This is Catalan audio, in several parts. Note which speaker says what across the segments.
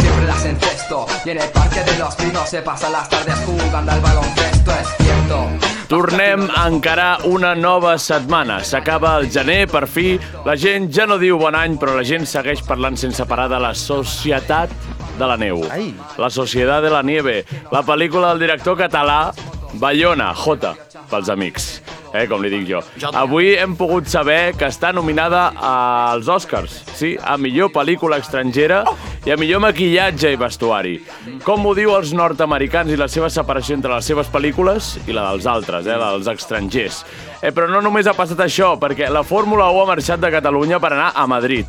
Speaker 1: Siempre las encesto. Y en el parque de los pinos se pasan las tardes jugando al baloncesto, es cierto.
Speaker 2: Tornem a encarar una nova setmana. S'acaba el gener, per fi. La gent ja no diu bon any, però la gent segueix parlant sense parar de la societat de la neu.
Speaker 3: Ai.
Speaker 2: La societat de la nieve. La pel·lícula del director català Bayona, J, pels amics. Eh, com li dic jo. Avui hem pogut saber que està nominada als Oscars, sí, a millor pel·lícula estrangera i a millor maquillatge i vestuari. Com ho diu els nord-americans i la seva separació entre les seves pel·lícules i la dels altres, eh, la dels estrangers. Eh, però no només ha passat això, perquè la Fórmula 1 ha marxat de Catalunya per anar a Madrid.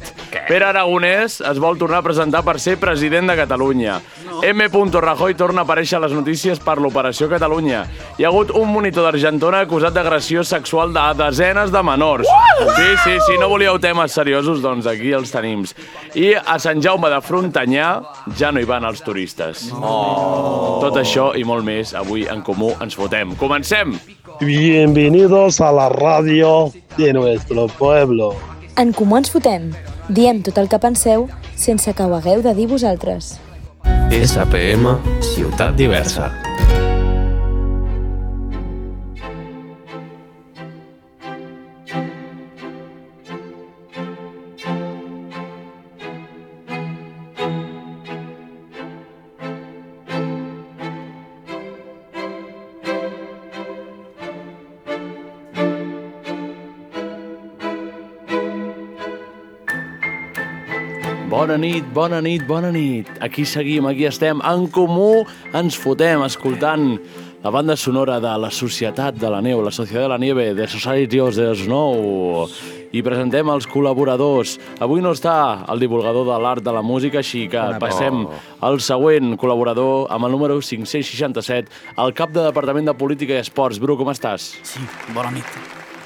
Speaker 2: Pere Aragonès es vol tornar a presentar per ser president de Catalunya. M. Rajoy torna a aparèixer a les notícies per l'Operació Catalunya. Hi ha hagut un monitor d'Argentona acusat d'agressió sexual de desenes de menors. Sí, sí, sí, no volíeu temes seriosos, doncs aquí els tenim. I a Sant Jaume de Frontanyà ja no hi van els turistes. Oh. Tot això i molt més avui en comú ens fotem. Comencem!
Speaker 4: Bienvenidos a la radio de nuestro pueblo.
Speaker 5: En Comú Ens Fotem. Diem tot el que penseu sense que ho hagueu de dir vosaltres.
Speaker 6: SPM, Ciutat Diversa.
Speaker 2: Bona nit, bona nit, bona nit. Aquí seguim, aquí estem. En comú ens fotem escoltant la banda sonora de la Societat de la Neu, la Societat de la Nieve, de Society of the Snow. I presentem els col·laboradors. Avui no està el divulgador de l'art de la música, així que passem al següent col·laborador amb el número 567, el cap de Departament de Política i Esports. Bru, com estàs?
Speaker 7: Sí, bona nit.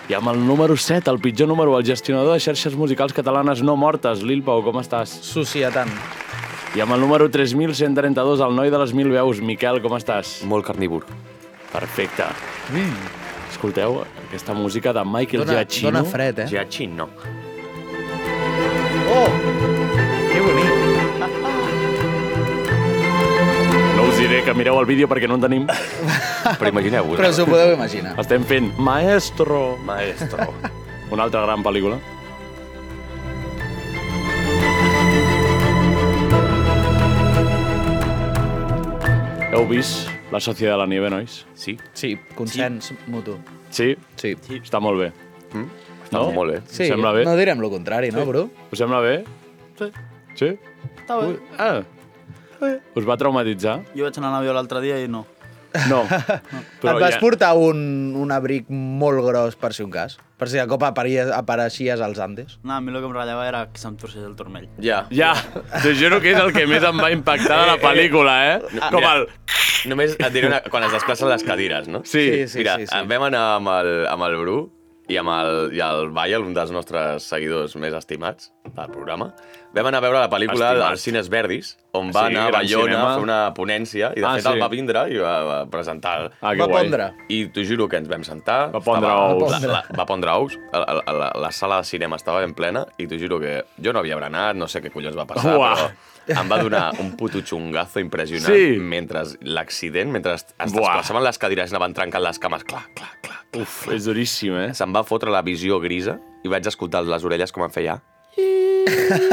Speaker 2: I amb el número 7, el pitjor número, el gestionador de xarxes musicals catalanes no mortes, Lil Pau, com estàs?
Speaker 7: Societant.
Speaker 2: I amb el número 3.132, el noi de les mil veus, Miquel, com estàs?
Speaker 6: Molt carnívor.
Speaker 2: Perfecte. Mm. Escolteu aquesta música de Michael
Speaker 3: Dóna,
Speaker 2: Giacchino.
Speaker 3: dóna fred, eh?
Speaker 6: Giachin, no.
Speaker 3: Oh! Que bonic.
Speaker 2: No us diré que mireu el vídeo perquè no en tenim.
Speaker 6: Però imagineu-vos.
Speaker 3: Però us ho podeu imaginar.
Speaker 2: Estem fent Maestro,
Speaker 6: Maestro.
Speaker 2: una altra gran pel·lícula. Heu vist La Societat de la Nieve, nois?
Speaker 6: Sí,
Speaker 7: Sí, consens sí. mutu.
Speaker 2: Sí?
Speaker 3: Sí.
Speaker 2: Està molt bé.
Speaker 6: Mm. està no? molt bé.
Speaker 3: sí.
Speaker 2: sembla bé.
Speaker 3: No direm lo contrari, no, Bru?
Speaker 2: Us sembla bé? Sí. Sí? Està bé. Ah. Us va traumatitzar?
Speaker 7: Jo vaig anar a l'avió l'altre dia i no.
Speaker 2: No.
Speaker 3: Però Et vas portar un, un abric molt gros per si un cas? Per si de cop apareies, apareixies als Andes?
Speaker 7: No, a mi el que em ratllava era que se'm torcés el turmell.
Speaker 6: Ja.
Speaker 2: Ja, t'ho juro que és el que més em va impactar de la
Speaker 3: eh.
Speaker 2: pel·lícula,
Speaker 3: Ah.
Speaker 2: eh? Com
Speaker 6: mira.
Speaker 2: el...
Speaker 6: Només et diré una... quan es desplacen les cadires, no?
Speaker 2: Sí.
Speaker 3: Sí,
Speaker 6: Mira,
Speaker 3: sí, sí.
Speaker 6: vam anar amb el, amb el Bru i amb el, i el Bayel, un dels nostres seguidors més estimats del programa. Vam anar a veure la pel·lícula
Speaker 2: Estimat.
Speaker 6: als Cines Verdis, on
Speaker 2: Sí,
Speaker 6: va anar a
Speaker 2: gran
Speaker 6: Bayona
Speaker 2: cinema.
Speaker 6: a fer una ponència, i de
Speaker 2: Ah,
Speaker 6: fet
Speaker 2: sí.
Speaker 6: el va vindre i va, va presentar el,
Speaker 2: Ah, que
Speaker 3: Va
Speaker 2: guai.
Speaker 3: pondre.
Speaker 6: I t'ho juro que ens vam sentar.
Speaker 2: Va pondre ous.
Speaker 6: La, la, va pondre ous. La, la, la, la sala de cinema estava ben plena i t'ho juro que jo no havia berenat, no sé què collons va passar,
Speaker 2: Uah.
Speaker 6: però em va donar un puto xungazo impressionant
Speaker 2: Sí.
Speaker 6: mentre l'accident, mentre es, es
Speaker 2: Buah.
Speaker 6: desplaçaven les cadires i anaven trencant les cames, clar, clar, clar.
Speaker 2: Uf, és duríssim, eh?
Speaker 6: Se'm va fotre la visió grisa i vaig escoltar les orelles com em feia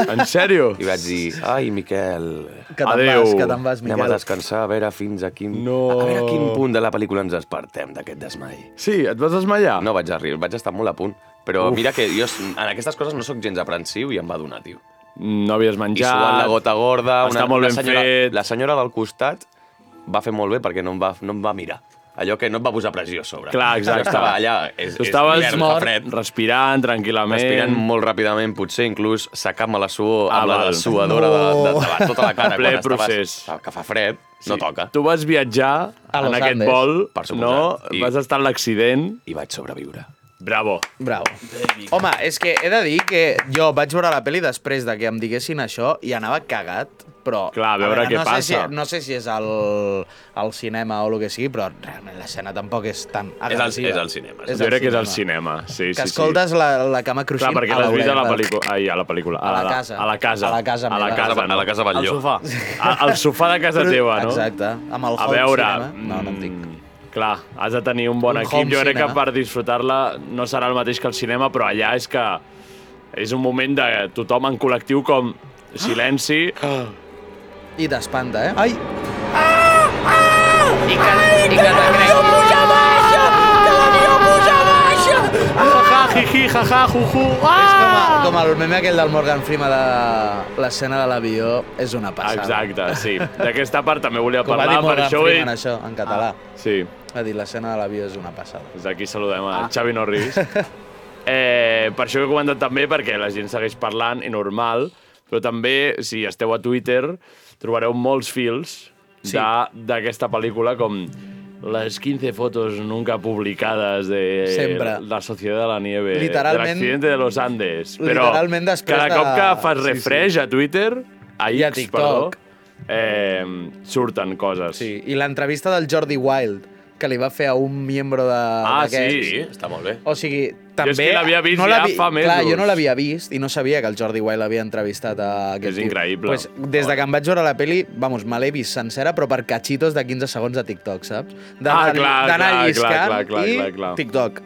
Speaker 2: En sèrio?
Speaker 6: i vaig dir, ai, Miquel,
Speaker 3: Que te'n
Speaker 2: Adeu.
Speaker 3: vas, que te'n vas,
Speaker 6: anem a
Speaker 3: Miquel.
Speaker 6: descansar, a veure fins a quin,
Speaker 2: No.
Speaker 6: a veure a quin punt de la pel·lícula ens despertem d'aquest desmai.
Speaker 2: Sí, et vas desmaiar?
Speaker 6: No vaig arribar, vaig estar molt a punt. Però Uf. mira que jo en aquestes coses no sóc gens aprensiu i em va donar, tio.
Speaker 2: No havies
Speaker 6: I ja, suant
Speaker 2: menjat...
Speaker 6: la gota gorda...
Speaker 2: està molt ben
Speaker 6: la senyora,
Speaker 2: fet.
Speaker 6: La senyora del costat va fer molt bé perquè no em va, no em va mirar. Allò que no et va posar pressió a sobre.
Speaker 2: Clar, exacte.
Speaker 6: Jo estava allà, és,
Speaker 2: Tu
Speaker 6: és
Speaker 2: estaves
Speaker 6: hivern, fa
Speaker 2: mort,
Speaker 6: fred,
Speaker 2: respirant tranquil·lament.
Speaker 6: respirant molt ràpidament, potser inclús secant-me la suor
Speaker 2: Ah,
Speaker 6: amb la
Speaker 2: val.
Speaker 6: suadora de, de, de, la, tota la cara.
Speaker 2: Ple
Speaker 6: quan estaves-
Speaker 2: procés.
Speaker 6: que fa fred, No toca.
Speaker 2: Tu vas viatjar
Speaker 3: A los
Speaker 2: en aquest
Speaker 3: Andes.
Speaker 2: vol,
Speaker 6: Per
Speaker 2: no?
Speaker 6: suposat. I-
Speaker 2: Vas estar en l'accident.
Speaker 6: I vaig sobreviure.
Speaker 2: Bravo.
Speaker 3: Bravo. Home, és que he de dir que jo vaig veure la pel·li després de que em diguessin això i anava cagat, però...
Speaker 2: Clar, a veure què
Speaker 3: no
Speaker 2: passa.
Speaker 3: Sé si, no sé si és al, al cinema o el que sigui, però realment l'escena tampoc és tan
Speaker 6: al-
Speaker 3: agressiva.
Speaker 6: és al cinema, és
Speaker 2: jo crec que és al cinema. Sí, sí,
Speaker 3: Que escoltes la, la cama
Speaker 2: Clar,
Speaker 3: cruixint
Speaker 2: perquè
Speaker 3: a
Speaker 2: l'has vist a la
Speaker 3: l'orella.
Speaker 2: pel·lícula. Ai, a la pel·lícula.
Speaker 3: A la casa.
Speaker 2: A la casa.
Speaker 3: A la casa
Speaker 2: A la
Speaker 3: meva.
Speaker 2: casa,
Speaker 6: a la casa
Speaker 7: Al
Speaker 6: Batlló.
Speaker 7: sofà.
Speaker 2: A, al sofà de casa teva, no?
Speaker 3: Exacte, amb el
Speaker 2: A
Speaker 3: home
Speaker 2: veure...
Speaker 3: cinema. No, no en tinc.
Speaker 2: mm, Clar, has de tenir un bon
Speaker 3: Un
Speaker 2: equip.
Speaker 3: home
Speaker 2: Jo crec que
Speaker 3: cinema.
Speaker 2: per disfrutar-la no serà el mateix que el cinema, però allà és que és un moment de tothom en col·lectiu com silenci.
Speaker 3: Ah! I t'espanta, eh? Ah, Ai!
Speaker 1: I que, i que te creu
Speaker 2: Ja, ja,
Speaker 3: Ah!
Speaker 2: jiji, jaja, juju.
Speaker 3: És com,
Speaker 2: Ah!
Speaker 3: a, com el meme aquell del Morgan Freeman de l'escena de l'avió, és una passada.
Speaker 2: Exacte, sí. D'aquesta part també volia
Speaker 3: Ah! Com va
Speaker 2: parlar,
Speaker 3: dir
Speaker 2: per
Speaker 3: Morgan
Speaker 2: això Ah. ho he...
Speaker 3: Freeman, això, en català.
Speaker 2: Sí,
Speaker 3: Va dir, l'escena de l'avió és una passada.
Speaker 2: des d'aquí saludem a
Speaker 3: Ah.
Speaker 2: Xavi Norris. Eh, per això ho he comentat també, perquè la gent segueix parlant, i normal, però també, si esteu a Twitter, trobareu molts fils
Speaker 3: Sí.
Speaker 2: de- d'aquesta pel·lícula, com les 15 fotos nunca publicades de
Speaker 3: Sempre.
Speaker 2: la Sociedad de la Nieve,
Speaker 3: Literalment-
Speaker 2: de l'accident de los Andes. Però
Speaker 3: Literalment després
Speaker 2: cada
Speaker 3: de-
Speaker 2: cop que fas
Speaker 3: Sí, sí.
Speaker 2: refresh a Twitter, a X,
Speaker 3: I a TikTok.
Speaker 2: perdó, eh, surten coses.
Speaker 3: Sí, i l'entrevista del Jordi Wild, que li va fer a un miembro de...
Speaker 2: Ah,
Speaker 3: d'aquests.
Speaker 2: sí?
Speaker 6: Sí, està molt bé.
Speaker 3: O sigui, també...
Speaker 2: és que l'havia vist ja
Speaker 3: l'havia-
Speaker 2: fa
Speaker 3: Clar,
Speaker 2: mesos.
Speaker 3: jo no l'havia vist i no sabia que el Jordi Wild havia entrevistat a
Speaker 2: És
Speaker 3: aquest tio.
Speaker 2: increïble.
Speaker 3: Pues, des de que em vaig veure la peli, vamos, me l'he vist sencera, però per cachitos de 15 segons de TikTok, saps?
Speaker 2: Ah, clar,
Speaker 3: d'anar
Speaker 2: clar, clar,
Speaker 3: lliscant
Speaker 2: clar, clar,
Speaker 3: i
Speaker 2: clar, clar.
Speaker 3: TikTok.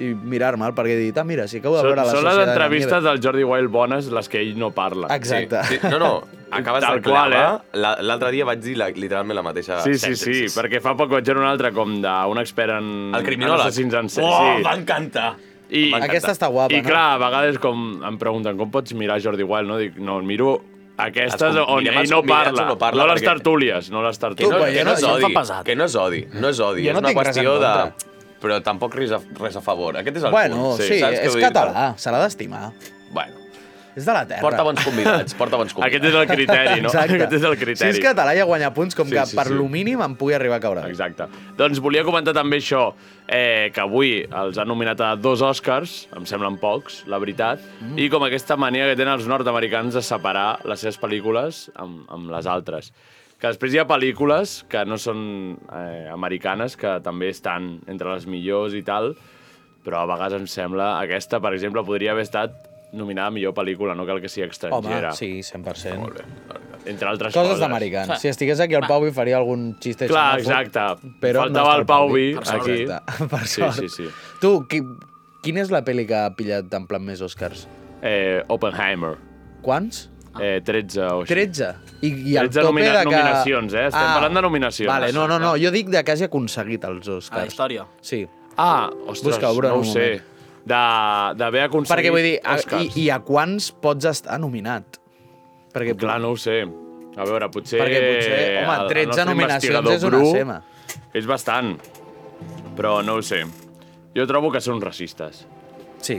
Speaker 3: I mirar-me'l, perquè he dit, ah, mira, sí que ho de
Speaker 2: Són,
Speaker 3: veure a la
Speaker 2: són les
Speaker 3: Societat de la
Speaker 2: entrevistes
Speaker 3: Nieve.
Speaker 2: del Jordi Wild bones, les que ell no parla.
Speaker 3: Exacte.
Speaker 6: Sí, sí. No, no, acabes
Speaker 2: Tal
Speaker 6: de clavar.
Speaker 2: qual, eh?
Speaker 6: La- L'altre dia vaig dir la, literalment la mateixa
Speaker 2: Sí, sí, sí,
Speaker 6: sèntesi.
Speaker 2: perquè fa poc vaig veure un altre com d'un expert en...
Speaker 6: El criminòleg.
Speaker 2: En assassins en sèrie.
Speaker 6: Oh,
Speaker 2: Oh,
Speaker 6: m'encanta!
Speaker 2: sí. I,
Speaker 6: m'encanta.
Speaker 3: Aquesta està guapa,
Speaker 2: I clar, a vegades com em pregunten com pots mirar Jordi Wild, no? Dic, no, miro aquestes
Speaker 6: Els com-
Speaker 2: on
Speaker 6: mirem
Speaker 2: ell
Speaker 6: els
Speaker 2: no
Speaker 6: convidats
Speaker 2: parla.
Speaker 6: on no parla,
Speaker 2: les
Speaker 6: perquè-
Speaker 2: tertúlies, no les
Speaker 6: Que no,
Speaker 3: però
Speaker 2: tertúlies.
Speaker 3: jo
Speaker 6: que no,
Speaker 3: no-
Speaker 6: és
Speaker 3: això em
Speaker 6: odi,
Speaker 7: fa pesat.
Speaker 6: que no és odi, no és odi.
Speaker 3: Jo no
Speaker 6: és una
Speaker 3: tinc res en
Speaker 6: qüestió de...
Speaker 3: contra.
Speaker 6: Però tampoc res a, res a favor. Aquest és el
Speaker 3: Bueno,
Speaker 6: punt.
Speaker 3: sí,
Speaker 6: saps què
Speaker 3: és
Speaker 6: vull dir?
Speaker 3: català, se l'ha d'estimar.
Speaker 6: Bueno,
Speaker 3: És de la terra.
Speaker 6: porta bons convidats, porta bons convidats.
Speaker 2: Aquest és el criteri, no?
Speaker 3: Exacte.
Speaker 2: Aquest és el criteri.
Speaker 3: Si és català i guanya punts, com
Speaker 2: Sí,
Speaker 3: que
Speaker 2: sí,
Speaker 3: per
Speaker 2: sí.
Speaker 3: lo mínim em pugui arribar a caure. bé.
Speaker 2: Exacte. Doncs volia comentar també això, eh, que avui els han nominat a dos Oscars, em semblen pocs, la veritat, mm. i com aquesta mania que tenen els nord-americans de separar les seves pel·lícules amb, amb les altres. Que després hi ha pel·lícules que no són eh, americanes, que també estan entre les millors i tal, però a vegades em sembla... Aquesta, per exemple, podria haver estat nominada a millor pel·lícula, no cal que sigui
Speaker 3: Home,
Speaker 2: estrangera.
Speaker 3: sí, 100%.
Speaker 6: Molt bé.
Speaker 2: Entre altres
Speaker 3: Coses
Speaker 2: coses.
Speaker 3: d'americans. Si estigués aquí el Pau hi faria algun xiste
Speaker 2: Clar,
Speaker 3: xenòfob,
Speaker 2: exacte.
Speaker 3: Però
Speaker 2: Faltava
Speaker 3: no
Speaker 2: el Pau Vi,
Speaker 3: Per sort.
Speaker 2: aquí.
Speaker 3: Exacte, Per
Speaker 2: Sí,
Speaker 3: sort.
Speaker 2: sí, sí.
Speaker 3: Tu, qui, quina és la pel·li que ha pillat en plan més Oscars?
Speaker 2: Eh, Oppenheimer.
Speaker 3: Quants?
Speaker 2: Eh, 13 o així.
Speaker 3: 13. I, i el
Speaker 2: 13
Speaker 3: tope
Speaker 2: nomina-
Speaker 3: de que... Ah.
Speaker 2: nominacions, eh? Estem parlant de nominacions.
Speaker 3: Vale, no, no, no. Jo dic de que hagi aconseguit els Oscars.
Speaker 7: A la història.
Speaker 3: Sí.
Speaker 2: Ah, ostres,
Speaker 3: Busca, obre
Speaker 2: no ho
Speaker 3: un
Speaker 2: sé. De- D'haver aconseguit
Speaker 3: Perquè vull dir, a, i,
Speaker 2: Oscars.
Speaker 3: i a quants pots estar nominat? Perquè,
Speaker 2: Clar, no ho sé. A veure, potser...
Speaker 3: perquè potser... Home,
Speaker 2: el- el
Speaker 3: 13
Speaker 2: nostre
Speaker 3: nominacions
Speaker 2: investigador
Speaker 3: és una
Speaker 2: Bru
Speaker 3: sema.
Speaker 2: És bastant, però no ho sé. Jo trobo que són racistes,
Speaker 3: Sí,